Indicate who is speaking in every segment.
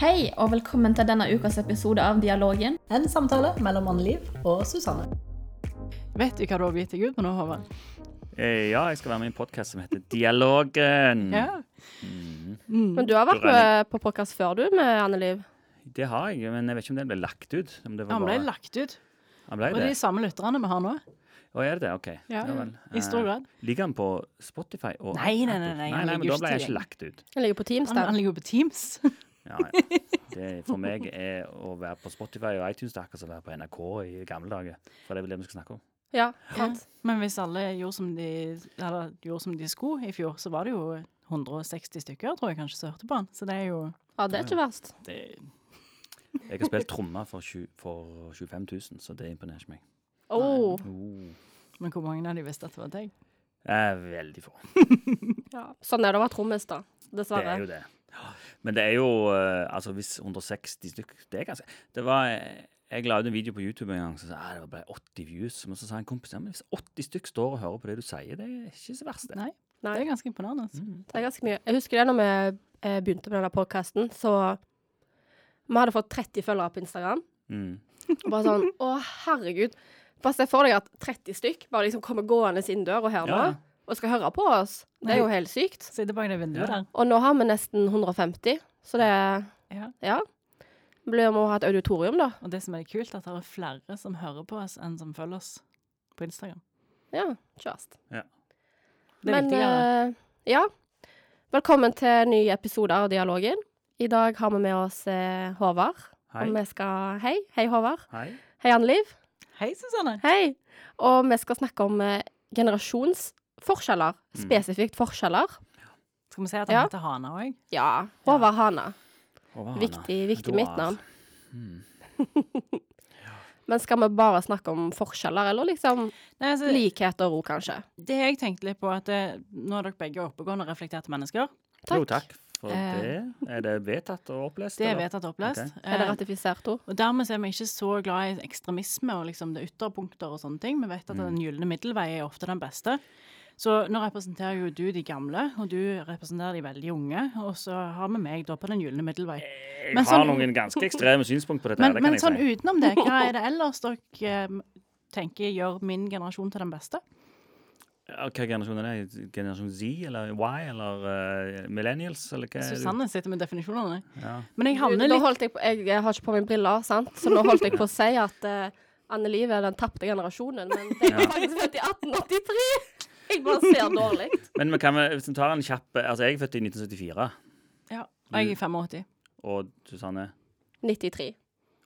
Speaker 1: Hei, og velkommen til denne ukas episode av Dialogen.
Speaker 2: En samtale mellom Anne-Liv og Susanne.
Speaker 3: Vet du hva du har begitt deg ut på nå, Håvard?
Speaker 4: Eh, Ja, jeg skal være med i en podkast som heter Dialogen.
Speaker 3: Ja.
Speaker 4: Mm,
Speaker 3: Mm.
Speaker 5: Men du har vært
Speaker 4: Brenning.
Speaker 5: med på podkast før, du, med Anneliv.
Speaker 4: det har jeg, men jeg vet ikke om den ble lagt ut. Om det var
Speaker 3: Han ble
Speaker 4: bare-
Speaker 3: lagt ut.
Speaker 4: Han ble
Speaker 3: Og det er
Speaker 4: det.
Speaker 3: de samme lytterne vi har nå.
Speaker 4: Å, er det det? OK.
Speaker 3: Ja,
Speaker 4: vel.
Speaker 3: I stor
Speaker 4: Eh,
Speaker 3: grad.
Speaker 4: Ligger han på Spotify? Og
Speaker 3: Nei, nei, nei, nei,
Speaker 4: Apple?
Speaker 3: han
Speaker 4: nei,
Speaker 3: ligger
Speaker 4: men
Speaker 3: jo
Speaker 4: da
Speaker 3: ikke
Speaker 4: ble jeg
Speaker 3: til-
Speaker 4: ikke lagt ut.
Speaker 5: Jeg ligger på Teams
Speaker 3: Han,
Speaker 5: der.
Speaker 3: han ligger jo på Teams.
Speaker 4: Ja, ja. Det for meg er å være på Spotify og iTunes det er akkurat som å være på NRK i gamle dager. For det er vel det vi skal snakke om.
Speaker 5: Ja, sant.
Speaker 3: Men hvis alle gjorde som de, eller, gjorde som de skulle i fjor, så var det jo 160 stykker, tror jeg kanskje, som hørte på han. Så det er jo
Speaker 5: Ja, det er ikke verst.
Speaker 3: det,
Speaker 4: Jeg har spilt trommer for, tju- for 25 000, så det imponerer ikke meg.
Speaker 5: Oh,
Speaker 4: Oh.
Speaker 3: Men hvor mange av de visste at det var deg?
Speaker 4: Eh, veldig få.
Speaker 5: ja. Sånn er det å være trommis, da.
Speaker 4: Det er
Speaker 5: Dessverre.
Speaker 4: jo det. Men det er jo eh, Altså, hvis 160 stykk Det er ganske Det var eh, Jeg la ut en video på YouTube en gang som sa ah, det ble 80 views. Men så sa en kompis ja, men hvis 80 stykk står og hører på det du sier, det er ikke så verst, det.
Speaker 3: Nei.
Speaker 5: Nei,
Speaker 3: Det er ganske imponerende. altså.
Speaker 4: Mm.
Speaker 5: det er ganske mye. Jeg husker det når vi eh, begynte med denne podkasten, så Vi hadde fått 30 følgere på Instagram.
Speaker 4: Mm.
Speaker 5: Og bare sånn Å, herregud. Bare se for deg at 30 stykk bare liksom kommer gående inn døra her nå
Speaker 4: Ja.
Speaker 5: og skal høre på oss. Det er jo helt sykt.
Speaker 3: Sitte bak det vinduet
Speaker 4: Ja.
Speaker 3: der.
Speaker 5: Og nå har vi nesten 150, så det
Speaker 3: Ja.
Speaker 5: Ja. Blir må ha et auditorium, da.
Speaker 3: Og det som er kult, er at det er flere som hører på oss enn som følger oss på Instagram.
Speaker 5: Ja, kjørt.
Speaker 3: Det er
Speaker 5: Men
Speaker 3: viktigere.
Speaker 5: eh, ja, velkommen til en ny episode av Dialogen. I dag har vi med oss eh, Håvard.
Speaker 4: Hei.
Speaker 5: Og vi skal Hei. Hei, Håvard.
Speaker 4: Hei.
Speaker 5: Hei, Anne-Liv.
Speaker 3: Hei, Susanne.
Speaker 5: Hei. Og vi skal snakke om eh, generasjonsforskjeller.
Speaker 4: Mm.
Speaker 5: Spesifikt forskjeller.
Speaker 3: Skal vi si at han
Speaker 5: Ja.
Speaker 3: heter Hana òg?
Speaker 5: Ja. Håvard Hana.
Speaker 4: Og hva har
Speaker 5: Viktig,
Speaker 4: han da?
Speaker 5: viktig
Speaker 4: Doar.
Speaker 5: mitt navn.
Speaker 4: Mm.
Speaker 5: Men skal vi bare snakke om forskjeller, eller liksom
Speaker 3: Nei, altså,
Speaker 5: likheter òg, kanskje?
Speaker 3: Det jeg tenkte litt på, at eh, nå er dere begge oppegående og reflekterte mennesker.
Speaker 5: Takk.
Speaker 4: Jo, takk for
Speaker 3: Eh.
Speaker 4: det. Er det vedtatt og opplest?
Speaker 3: Det er
Speaker 4: eller?
Speaker 3: vedtatt opplest.
Speaker 5: Er det
Speaker 3: Eh,
Speaker 5: ratifisert ord?
Speaker 3: Og dermed så er vi ikke så glad i ekstremisme og liksom det ytterpunkter og sånne ting. Vi vet at
Speaker 5: Mm.
Speaker 3: den gylne middelvei er ofte den beste. Så nå representerer jo du de gamle, og du representerer de veldig unge. Og så har vi meg da på den gylne middelvei.
Speaker 4: Jeg
Speaker 3: Men
Speaker 4: har
Speaker 3: sånn-
Speaker 4: noen ganske ekstreme synspunkt på dette,
Speaker 3: Men,
Speaker 4: her, Eh, det kan
Speaker 3: men sånn
Speaker 4: jeg si.
Speaker 3: utenom det, hva er det ellers dere eh, tenker gjør min generasjon til den beste?
Speaker 4: Ja, Hva generasjon er det? Generasjon Z, eller Y, eller eh, Millennials, eller hva? er det?
Speaker 3: Susanne sitter med definisjonene.
Speaker 4: Ja.
Speaker 3: Men jeg havner
Speaker 5: Da
Speaker 3: litt
Speaker 5: holdt jeg, på, jeg, jeg har ikke på meg briller, sant? så nå holdt jeg på å si at eh, Anne Liv er den tapte generasjonen, men det er
Speaker 4: Ja.
Speaker 5: faktisk født i 1883! Jeg bare ser dårlig.
Speaker 4: Men vi kan, vel- hvis vi tar en kjapp Altså, jeg er født i 1974,
Speaker 3: Ja, og jeg er 85.
Speaker 4: og Susanne
Speaker 5: 93.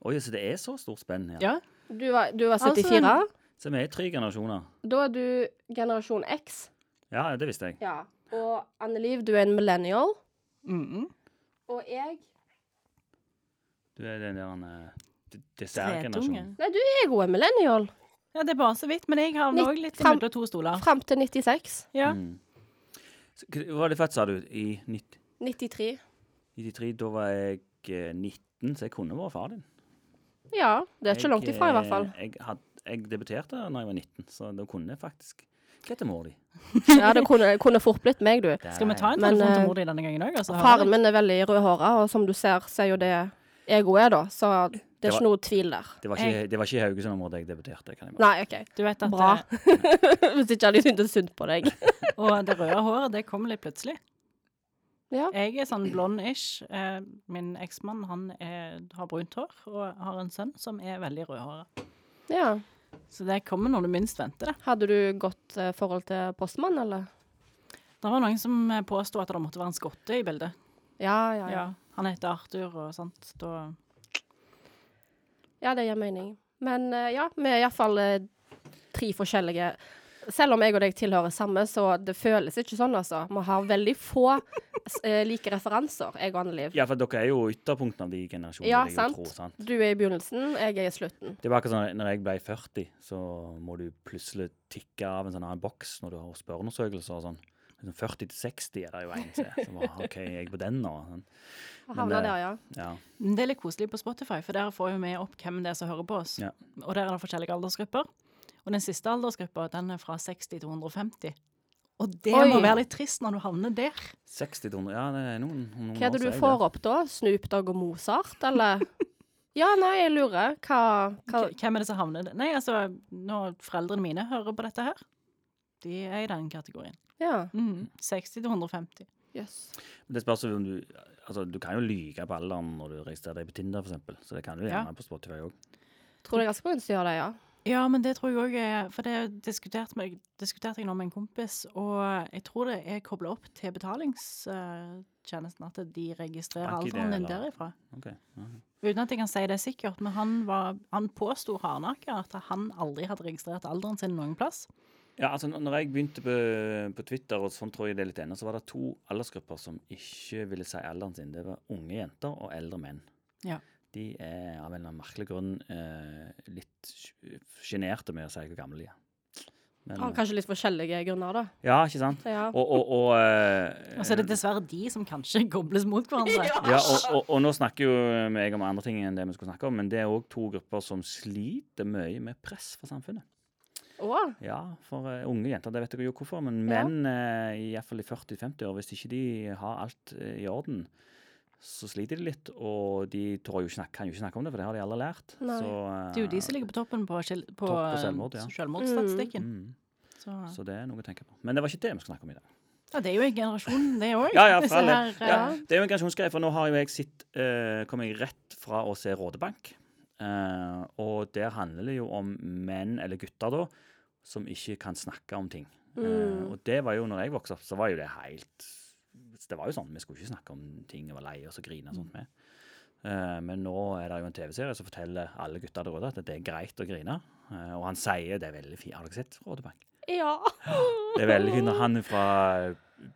Speaker 4: Oi, så det er så stort spenn her.
Speaker 3: Ja.
Speaker 5: Du var, du var
Speaker 3: Altså,
Speaker 5: 74.
Speaker 4: Så vi er tre generasjoner.
Speaker 5: Da er du generasjon X.
Speaker 4: Ja, det visste jeg.
Speaker 5: Ja. Og Anne Liv, du er en millennial.
Speaker 3: Mm
Speaker 5: Og jeg
Speaker 4: Du er den der uh,
Speaker 3: Tretunge.
Speaker 4: dessertgenerasjonen.
Speaker 5: Nei, du er jo en millennial.
Speaker 3: Ja, det er bare så vidt, men jeg har
Speaker 5: Litt
Speaker 3: òg litt
Speaker 5: fram-
Speaker 3: mellom to stoler.
Speaker 5: Fram til 96.
Speaker 3: Ja.
Speaker 4: Mm. Så hva- Hva var det født, sa du? I 90
Speaker 5: 93.
Speaker 4: 93? Da var jeg eh, 19, så jeg kunne vært far din.
Speaker 5: Ja. Det er ikke langt ifra, i hvert fall.
Speaker 4: Jeg, had, jeg debuterte da jeg var 19, så da kunne jeg faktisk Hva heter mor di?
Speaker 5: Ja, Det kunne, kunne fort blitt meg, du.
Speaker 3: Skal vi ta en
Speaker 5: Men,
Speaker 3: telefon til
Speaker 5: eh,
Speaker 3: mor di denne gangen òg?
Speaker 5: Faren min er veldig rødhåra, og som du ser, ser jo det ego er, da. Så
Speaker 4: Det
Speaker 5: det er
Speaker 4: var-
Speaker 5: ikke noe tvil der.
Speaker 4: Det var
Speaker 5: Eh.
Speaker 4: ikke, det var ikke i Haugesund-området jeg debuterte. kan jeg bare.
Speaker 5: Nei, OK.
Speaker 3: Du vet at
Speaker 5: Bra.
Speaker 3: eh,
Speaker 5: Hvis ikke hadde jeg syntes synd på deg.
Speaker 3: Og det røde håret, det kom litt plutselig.
Speaker 5: Ja.
Speaker 3: Jeg er sånn blond-ish. Eh, Min eksmann, han er, har brunt hår og har en sønn som er veldig rødhåra.
Speaker 5: ja.
Speaker 3: Så det kommer når du minst venter det.
Speaker 5: Hadde du godt eh, forhold til postmann, eller?
Speaker 3: Det var noen som eh, påsto at det måtte være en skotte i bildet.
Speaker 5: Ja, ja, ja.
Speaker 3: Ja. Han heter Arthur og sånt. Da
Speaker 5: Ja, det gir mening. Men eh, ja, vi er iallfall eh, tre forskjellige. Selv om jeg og deg tilhører samme, så det føles ikke sånn, altså. Vi har veldig få s- eh, like referanser, jeg og Anne-Liv.
Speaker 4: Ja, for dere er jo ytterpunktene av de generasjonene.
Speaker 5: Ja,
Speaker 4: vil jeg jo
Speaker 5: sant.
Speaker 4: tro, sant?
Speaker 5: Du er i begynnelsen, jeg er i slutten.
Speaker 4: Det var akkurat sånn at når jeg ble 40, så må du plutselig tikke av en sånn annen boks når du har spørreundersøkelser og sånn. Sånn 40 til 60 er det jo en til. Så bare, OK, jeg er på den nå. Sånn.
Speaker 5: Og
Speaker 4: Men, eh,
Speaker 5: havner der, ja.
Speaker 4: Ja.
Speaker 3: Men Det er litt koselig på Spotify, for der får jo vi opp hvem det er som hører på oss.
Speaker 4: Ja.
Speaker 3: Og der er det forskjellige aldersgrupper. Og den siste aldersgruppa den er fra 60 til 150. Og det
Speaker 5: Oi.
Speaker 3: må være litt trist når du havner der.
Speaker 4: 60 til 100 Ja, det er noen, noen
Speaker 5: Hva er
Speaker 4: år
Speaker 5: det du
Speaker 4: siden,
Speaker 5: får opp da? Snoop Dogg og Mozart, eller? Ja, nei, jeg lurer. Hva, hva
Speaker 3: K- Hvem er det som havner der? Nei, altså, når foreldrene mine hører på dette her, de er i den kategorien.
Speaker 5: Ja.
Speaker 3: Mm. 60 til 150.
Speaker 5: Jøss.
Speaker 4: Men Det spørs jo om du Altså, du kan jo lyge på alderen når du registrerer deg på Tinder, for eksempel. Så det kan du gjerne
Speaker 3: Ja.
Speaker 4: på Spotify òg.
Speaker 5: Tror det er ganske mange som gjør det, ja.
Speaker 3: Ja, men det tror jeg òg er For det diskuterte, meg, diskuterte jeg nå med en kompis, og jeg tror det er kobla opp til betalingstjenesten, at de registrerer
Speaker 4: Bank-ID,
Speaker 3: alderen din
Speaker 4: eller?
Speaker 3: derifra.
Speaker 4: Ok. ja.
Speaker 3: Uten at jeg kan si det sikkert, men han, var, han påsto hardnakka at han aldri hadde registrert alderen sin noen plass.
Speaker 4: Ja, altså n- når jeg begynte på, på Twitter, og sånn tror jeg det er litt ennå, så var det to aldersgrupper som ikke ville si alderen sin. Det var unge jenter og eldre menn.
Speaker 3: Ja.
Speaker 4: De er av en eller annen merkelig grunn eh, litt sj- sjenerte med å si hvor gamle de er. Men,
Speaker 5: Av kanskje litt forskjellige grunner, da.
Speaker 4: ja, ikke sant?
Speaker 5: Ja.
Speaker 4: eh, Og, og, og, eh,
Speaker 3: Og så er det dessverre de som kanskje gobles mot hverandre.
Speaker 4: Ja, og, og, og nå snakker jo jeg om andre ting enn det vi skulle snakke om, men det er òg to grupper som sliter mye med press fra samfunnet.
Speaker 5: Å,
Speaker 4: Ja, for eh, unge jenter, det vet jeg jo hvorfor, men
Speaker 5: Ja.
Speaker 4: menn eh, i hvert fall i 40-50 år, hvis ikke de har alt eh, i orden, så sliter de litt, og de tør jo ikke snakke, kan jo ikke snakke om det, for det har de alle lært.
Speaker 5: Nei.
Speaker 4: Så,
Speaker 3: Det er jo de som ligger på toppen på, skjel- på,
Speaker 4: Topp på
Speaker 3: eh,
Speaker 4: selvmord, ja.
Speaker 3: selvmordsstatistikken.
Speaker 4: mm,
Speaker 3: Så,
Speaker 4: Så det er noe å tenke på. Men det var ikke det vi skulle snakke om i dag.
Speaker 3: ja, det er jo en generasjon, det òg.
Speaker 4: Ja, ja, for all del. Ja,
Speaker 3: eh,
Speaker 4: det er jo en generasjonsgreie, for nå har jo jeg sitt, eh, kom jeg rett fra å se Rådebank. Eh, og der handler det jo om menn, eller gutter da, som ikke kan snakke om ting. Eh,
Speaker 5: Mm.
Speaker 4: og det var jo, når jeg vokste opp, så var jo det helt Det var jo sånn, vi skulle ikke snakke om ting og være lei oss og grine og sånt
Speaker 5: Mm.
Speaker 4: med. Eh, men nå er det jo en TV-serie som forteller alle gutter der ute at det er greit å grine. Eh, og han sier det er veldig fint. Har dere sett Rådebank?
Speaker 5: ja.
Speaker 4: Det er veldig fint når han fra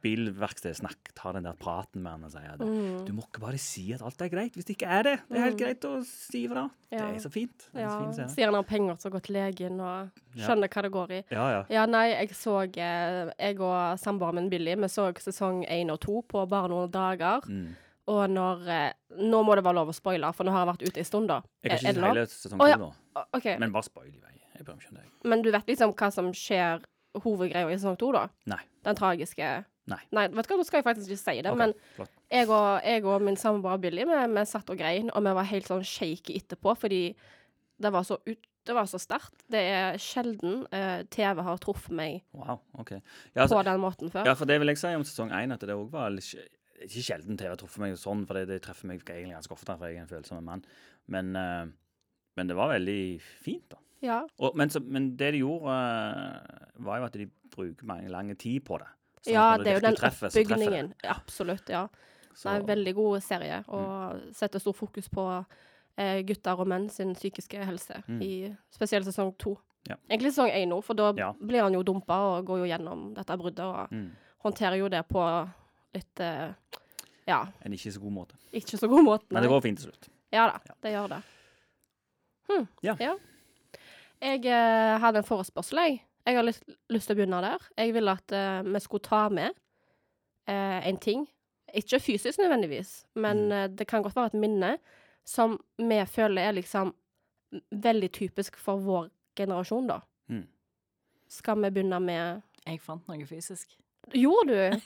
Speaker 4: bilverkstedet snakk, tar den der praten med han og sier det.
Speaker 5: Mm.
Speaker 4: Du må ikke bare si at alt er greit, hvis det ikke er det. Det er helt greit å si ifra. Det
Speaker 5: Ja.
Speaker 4: er så fint. Det er
Speaker 5: ja.
Speaker 4: så fin serie.
Speaker 5: Sier han har penger til å gå til legen og skjønner hva det går i.
Speaker 4: Ja, ja.
Speaker 5: Ja, nei, jeg så eh, Jeg og samboeren min Billy, vi så sesong én og to på bare noen dager.
Speaker 4: Mm.
Speaker 5: Og når eh, Nå må det være lov å spoile, for nå har han vært ute en stund, da.
Speaker 4: Jeg kan
Speaker 5: Er- er
Speaker 4: ikke
Speaker 5: det
Speaker 4: si
Speaker 5: lov?
Speaker 4: hele sesong
Speaker 5: Å,
Speaker 4: to
Speaker 5: ja.
Speaker 4: nå,
Speaker 5: Å, OK. Men,
Speaker 4: men bare spoil i vei. Jeg prøver å skjønne deg.
Speaker 5: du vet liksom hva som skjer, hovedgreia i sesong to, da?
Speaker 4: Nei.
Speaker 5: Den tragiske
Speaker 4: Nei.
Speaker 5: Nei, vet du hva, nå skal jeg faktisk ikke si det,
Speaker 4: Ok,
Speaker 5: men
Speaker 4: flott.
Speaker 5: jeg og, jeg og min samboer Billy, vi, vi satt og grein, og vi var helt sånn shaky etterpå, fordi det var så, ut, det var så sterkt. Det er sjelden eh, TV har truffet meg
Speaker 4: Wow, ok. Ja, altså,
Speaker 5: på den måten før.
Speaker 4: ja, for det vil jeg si om sesong én, at det òg var litt sj- ikke sjelden TV truffer meg sånn, for det, det treffer meg egentlig ganske ofte, for jeg er en følsom mann. Men, eh, men det var veldig fint, da.
Speaker 5: Ja.
Speaker 4: Og, men, så, men det de gjorde, eh, var jo at de bruker mange lang tid på det. Sånn at
Speaker 5: Ja,
Speaker 4: når
Speaker 5: det er jo
Speaker 4: virkelig
Speaker 5: den
Speaker 4: treffer, så treffer det.
Speaker 5: oppbygningen. Absolutt, ja. Det
Speaker 4: Så- Mm.
Speaker 5: er en veldig god serie, og setter stor fokus på eh, gutter og menn sin psykiske helse,
Speaker 4: Mm.
Speaker 5: i spesielt sesong to.
Speaker 4: Ja.
Speaker 5: Egentlig sesong én nå, for da
Speaker 4: Ja.
Speaker 5: blir han jo dumpa og går jo gjennom dette bruddet, og
Speaker 4: Mm,
Speaker 5: håndterer jo det på litt eh, ja,
Speaker 4: en ikke så god måte.
Speaker 5: ikke så god måte.
Speaker 4: Men det går fint til slutt.
Speaker 5: Ja da,
Speaker 4: Ja.
Speaker 5: det gjør det. Hm.
Speaker 4: Ja.
Speaker 5: Jeg eh, hadde en forespørsel, jeg. Jeg har lyst, lyst til å begynne der. Jeg ville at eh, vi skulle ta med eh, en ting. Ikke fysisk nødvendigvis, men
Speaker 4: Mm.
Speaker 5: eh, det kan godt være et minne som vi føler er liksom veldig typisk for vår generasjon, da.
Speaker 4: Mm.
Speaker 5: Skal vi begynne med
Speaker 3: Jeg fant noe fysisk.
Speaker 5: Gjorde du?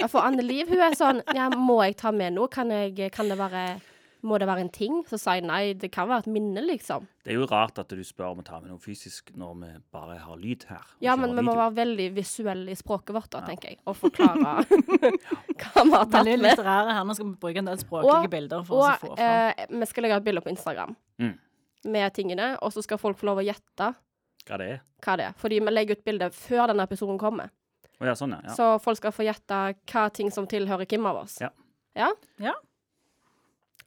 Speaker 5: Ja, for Anne Liv, hun er sånn Ja, må jeg ta med noe? Kan, jeg, kan det være Må det være en ting? Så sa jeg nei, det kan være et minne, liksom.
Speaker 4: Det er jo rart at du spør om å ta med noe fysisk når vi bare har lyd her. og
Speaker 5: Ja,
Speaker 4: ikke
Speaker 5: men
Speaker 4: har
Speaker 5: vi må
Speaker 4: video.
Speaker 5: være veldig visuelle i språket vårt, da, tenker jeg. Og forklare hva vi har tatt
Speaker 3: Veldig
Speaker 5: med.
Speaker 3: litterære her. Nå skal vi bruke en del språklige
Speaker 5: Og-
Speaker 3: bilder sånn for å få fram.
Speaker 5: Og eh, vi skal legge et bilde på Instagram
Speaker 4: Mm.
Speaker 5: med tingene, og så skal folk få lov å gjette
Speaker 4: Hva det er?
Speaker 5: hva det er. Fordi vi legger ut bilde før denne episoden kommer.
Speaker 4: Å ja, sånn, ja. ja.
Speaker 5: Så folk skal få gjette hva ting som tilhører hvem av oss.
Speaker 4: Ja.
Speaker 5: Ja?
Speaker 3: Ja.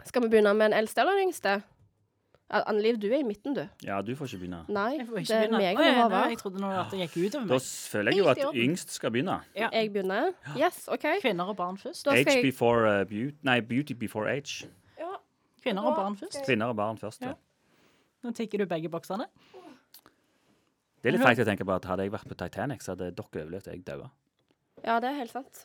Speaker 5: Skal vi begynne med den eldste eller den yngste? Ja, Anne Liv, du er i midten, du.
Speaker 4: Ja, du får ikke begynne.
Speaker 5: Nei,
Speaker 3: Jeg får
Speaker 5: det
Speaker 3: ikke
Speaker 5: er
Speaker 3: begynne.
Speaker 5: meg
Speaker 3: Å,
Speaker 5: det
Speaker 3: ja,
Speaker 5: må
Speaker 3: nei,
Speaker 5: være.
Speaker 3: jeg trodde nå at det gikk utover
Speaker 4: Da
Speaker 3: meg.
Speaker 4: føler jeg jo
Speaker 3: Helt
Speaker 4: at
Speaker 3: i orden.
Speaker 4: yngst skal begynne.
Speaker 3: Ja.
Speaker 5: Jeg begynner. Yes, OK.
Speaker 3: Kvinner og barn først.
Speaker 5: Da
Speaker 4: Age
Speaker 5: skal jeg
Speaker 4: before uh, beauty Nei, beauty before age.
Speaker 3: Kvinner og barn først.
Speaker 4: Kvinner og barn først.
Speaker 3: Ja.
Speaker 4: Ja.
Speaker 3: Nå tikker du begge boksene.
Speaker 4: Det er litt feigt å tenke på at hadde jeg vært på Titanic, så hadde dere overlevd, og jeg daua.
Speaker 5: Ja, det er helt sant.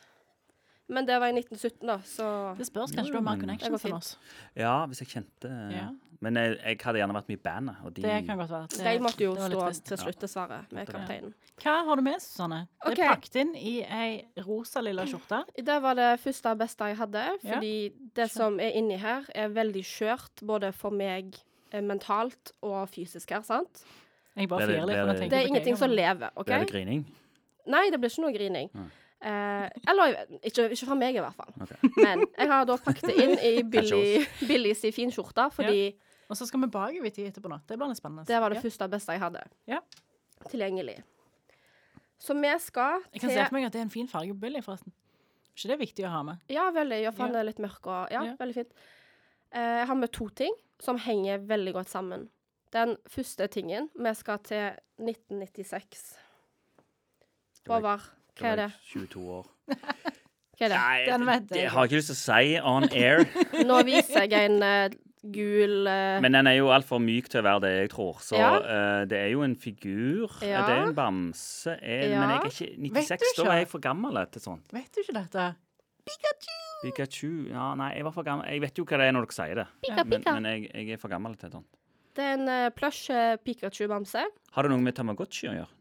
Speaker 5: Men det var i 1917, da, så
Speaker 4: Mm.
Speaker 3: Det spørs kanskje du har mer connection
Speaker 5: Det går
Speaker 3: til
Speaker 5: fint.
Speaker 3: oss.
Speaker 4: Ja, hvis jeg kjente
Speaker 3: Ja.
Speaker 4: Men jeg, jeg hadde gjerne vært med i bandet. Og de,
Speaker 3: Det kan godt være. Det-
Speaker 5: De måtte jo
Speaker 3: det var litt trist.
Speaker 5: stå til slutt, dessverre, med
Speaker 4: Ja.
Speaker 5: kapteinen.
Speaker 3: Hva har du med, Susanne? Det
Speaker 5: Ok.
Speaker 3: er pakket inn i ei rosa lilla skjorte.
Speaker 5: Det var det første og beste jeg hadde,
Speaker 3: Ja.
Speaker 5: fordi det som er inni her, er veldig skjørt, både for meg eh, mentalt og fysisk her, sant?
Speaker 3: Jeg bare
Speaker 4: Det er det-
Speaker 3: flirer litt.
Speaker 4: det er
Speaker 3: for nå tenker
Speaker 4: det-
Speaker 5: Det
Speaker 3: jeg
Speaker 5: er
Speaker 3: på
Speaker 5: ingenting
Speaker 3: deg,
Speaker 5: som
Speaker 3: Amanda.
Speaker 5: lever, OK?
Speaker 4: Det er det grining.
Speaker 5: Nei, det blir ikke noe grining.
Speaker 4: Nei.
Speaker 5: Eh, eller ikke, ikke fra meg, i hvert fall.
Speaker 4: Ok.
Speaker 5: Men jeg har da pakket det inn i Billy, Billy sin finskjorte, fordi
Speaker 3: Og så skal vi bakover i tid etterpå nå. Det blir litt spennende.
Speaker 5: det var det
Speaker 3: Ja.
Speaker 5: første og beste jeg hadde
Speaker 3: Ja.
Speaker 5: tilgjengelig. Så vi skal
Speaker 3: Jeg kan
Speaker 5: til
Speaker 3: se for meg at det er en fin farge på Billy, forresten. Ikke det er viktig å ha med.
Speaker 5: Ja, veldig. Ja, for han
Speaker 3: Ja.
Speaker 5: er litt mørk og Ja,
Speaker 3: Ja.
Speaker 5: veldig fint. Eh, Jeg har med to ting som henger veldig godt sammen. Den første tingen Vi skal til 1996.
Speaker 4: var-
Speaker 5: Håvard, hva er det?
Speaker 4: Da var jeg 22 år.
Speaker 5: Hva er det?
Speaker 3: Den
Speaker 4: Nei,
Speaker 3: vet
Speaker 4: det
Speaker 3: jeg.
Speaker 4: har jeg ikke lyst til å si on air.
Speaker 5: Nå viser jeg en eh, gul eh,
Speaker 4: Men den er jo altfor myk til å være det jeg tror. Så
Speaker 5: Ja.
Speaker 4: eh, det er jo en figur.
Speaker 5: Ja.
Speaker 4: Det er en bamse. Jeg,
Speaker 5: Ja.
Speaker 4: Men jeg er ikke
Speaker 3: Vet du
Speaker 4: 96, da
Speaker 3: ikke?
Speaker 4: er jeg for gammel til sånn. sånt.
Speaker 3: Vet du ikke dette?
Speaker 4: Pikachu ja, Nei, jeg var for gammel. Jeg vet jo hva det er når dere sier det.
Speaker 5: Pika,
Speaker 4: Men,
Speaker 5: pika.
Speaker 4: men jeg, jeg er for gammel til sånt.
Speaker 5: Det er en eh, plush eh, Pikachu-bamse.
Speaker 4: Har det noe med Tamagotchi å gjøre?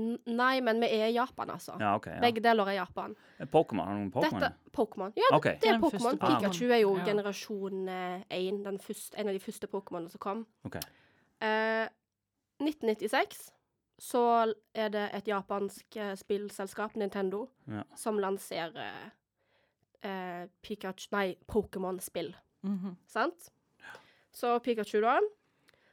Speaker 5: N- Nei, men vi er i Japan, altså.
Speaker 4: Ja, OK. Ja. Eh,
Speaker 5: Begge deler er Japan.
Speaker 4: Pokémon. Har du noe med Pokémon?
Speaker 5: Dette Pokémon. Ja,
Speaker 4: OK.
Speaker 5: det er
Speaker 3: Den første
Speaker 5: Pokémon.
Speaker 3: Pokémon.
Speaker 5: Pikachu er jo
Speaker 3: Ja.
Speaker 5: generasjon én. En av de første Pokémonene som kom.
Speaker 4: ok.
Speaker 5: Eh, 1996 så er det et japansk eh, spillselskap, Nintendo,
Speaker 4: Ja.
Speaker 5: som lanserer eh, Pikachu Nei, Pokémon-spill,
Speaker 3: Mhm.
Speaker 5: sant? Så Pikachu, da.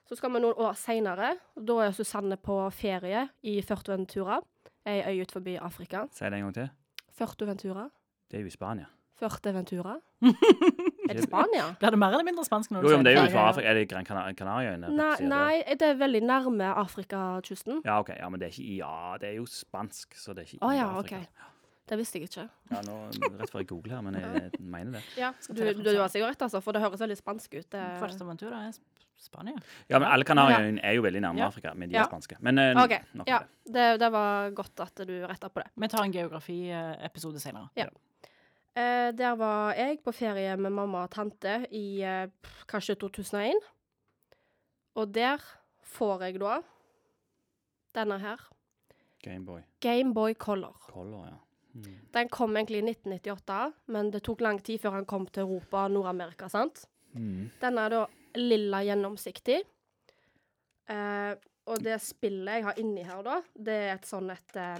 Speaker 5: Så skal vi noen år seinere. Da er Susanne på ferie i Førtuventura, ei øy ut forbi Afrika.
Speaker 4: Si det en gang til.
Speaker 5: Førtuventura?
Speaker 4: Det er jo i Spania.
Speaker 5: Førteventura? er det Spania?
Speaker 3: Blir det mer eller mindre spansk når
Speaker 4: Jo,
Speaker 3: du
Speaker 4: jo,
Speaker 3: sier
Speaker 4: men det er jo
Speaker 3: farge?
Speaker 4: fra Afrika. Er det Gran Cana- Kanariøyene?
Speaker 5: Nei,
Speaker 4: sier det?
Speaker 5: nei, det er veldig nærme Afrikakysten.
Speaker 4: Ja, OK. Ja, men det er ikke Ja, det er jo spansk, så det er ikke
Speaker 5: Å
Speaker 4: i
Speaker 5: ja, OK.
Speaker 4: Afrika.
Speaker 5: Det visste jeg ikke.
Speaker 4: Ja, nå rett før jeg googler her, men jeg mener det.
Speaker 5: Ja,
Speaker 3: Skal
Speaker 5: du,
Speaker 3: ta det frem
Speaker 5: du, du har
Speaker 3: sammen.
Speaker 5: sikkert rett, altså, for det høres veldig spansk ut. eh. Det...
Speaker 3: Fuerteventura er Sp- Spania.
Speaker 4: Ja, men alle Kanariøyene er jo veldig nærme
Speaker 3: Ja.
Speaker 4: Afrika, men de
Speaker 5: Ja.
Speaker 4: er spanske. Men eh,
Speaker 5: OK.
Speaker 4: nok om
Speaker 5: Ja,
Speaker 4: det.
Speaker 5: det, det var godt at du retta på det.
Speaker 3: Vi tar en geografiepisode senere.
Speaker 5: Ja. Eh, der var jeg på ferie med mamma og tante i eh, pff, kanskje 2001. Og der får jeg da denne her.
Speaker 4: Gameboy
Speaker 5: Gameboy Color.
Speaker 4: Color, ja. Mm.
Speaker 5: Den kom egentlig i 1998, men det tok lang tid før han kom til Europa og Nord-Amerika, sant? Denne er da lilla gjennomsiktig. Eh, og det spillet jeg har inni her, da, det er et sånn et eh,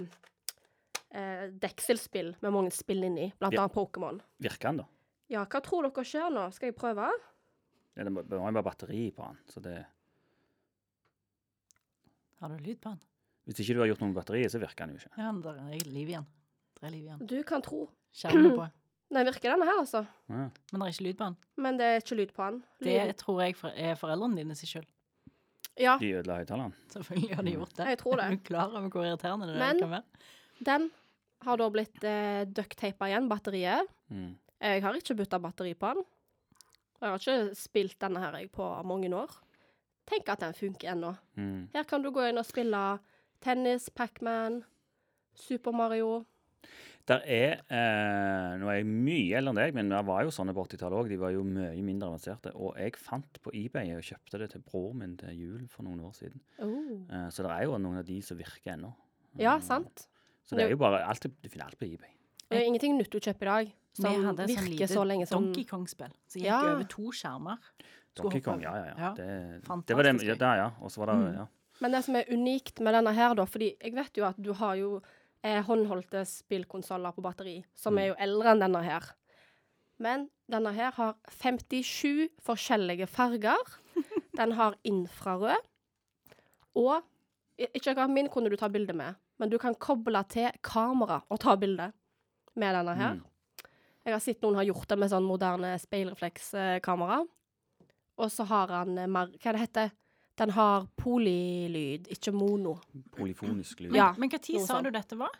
Speaker 5: eh, dekselspill med mange spill inni, blant
Speaker 4: Ja.
Speaker 5: annet Pokémon.
Speaker 4: Virker den, da?
Speaker 5: Ja, hva tror dere skjer nå? Skal jeg prøve?
Speaker 4: Ja, det må det må jo være batteri på den. Så det,
Speaker 3: Har du lyd på den?
Speaker 4: hvis ikke du har gjort noe med batteriet, så virker den jo ikke.
Speaker 3: Ja, der er liv igjen. Der er liv igjen.
Speaker 5: Du kan tro.
Speaker 3: Skjermen er på.
Speaker 5: Den virker, denne her, altså.
Speaker 4: Ja.
Speaker 3: Men det er ikke lyd på den.
Speaker 5: Men det er ikke lyd på den. Lyden-
Speaker 3: Det tror jeg for- er foreldrene dine sin skyld.
Speaker 5: Ja,
Speaker 4: De ødela høyttaleren.
Speaker 3: Selvfølgelig har de gjort det.
Speaker 5: jeg tror
Speaker 3: Er
Speaker 5: det.
Speaker 3: du klar over hvor irriterende det
Speaker 5: Men-
Speaker 3: kan være?
Speaker 5: Den har da blitt eh, ducktapa igjen, batteriet.
Speaker 4: Mm.
Speaker 5: Jeg har ikke bytta batteri på den. Og jeg har ikke spilt denne her jeg på mange år. Tenk at den funker ennå.
Speaker 4: Mm.
Speaker 5: Her kan du gå inn og spille tennis, Pac-Man, Super Mario.
Speaker 4: Der er eh, Nå er jeg mye eldre enn deg, men det var jo sånne på 80-tallet òg. De var jo mye mindre avanserte. Og jeg fant på eBay og kjøpte det til broren min til jul for noen år siden.
Speaker 3: Oh.
Speaker 4: Eh, så det er jo noen av de som virker ennå.
Speaker 5: Ja, sant?
Speaker 4: Så det er jo bare alt, Du finner alt på eBay.
Speaker 5: Og det er ingenting nytt du kjøper i dag
Speaker 3: Vi
Speaker 5: som
Speaker 3: hadde et sånn
Speaker 5: virker
Speaker 3: lite
Speaker 5: så lenge som
Speaker 3: Donkey Kong-spill som gikk
Speaker 5: Ja.
Speaker 3: over to skjermer. Skulle
Speaker 4: Donkey
Speaker 3: hoppe
Speaker 4: Kong, ja, ja. ja.
Speaker 3: Ja,
Speaker 4: Det, det var det,
Speaker 3: fantastisk Mm.
Speaker 4: ja,
Speaker 3: gøy.
Speaker 4: der, ja. Og så var det ja.
Speaker 5: Men det som er unikt med denne her, da, fordi jeg vet jo at du har jo eh, håndholdte spillkonsoller på batteri, som er jo eldre enn denne her. Men denne her har 57 forskjellige farger. Den har infrarød. Og i- ikke akkurat min kunne du ta bilde med, men du kan koble til kamera og ta bilde med denne her.
Speaker 4: Mm.
Speaker 5: Jeg har sett noen har gjort det med sånn moderne speilreflekskamera. Og så har han eh, mer Hva det heter Den har polylyd, ikke mono.
Speaker 4: Polyfonisk lyd.
Speaker 3: Men,
Speaker 5: Ja,
Speaker 3: men hva tid
Speaker 5: noe
Speaker 3: sa
Speaker 5: sånt.
Speaker 3: du dette var?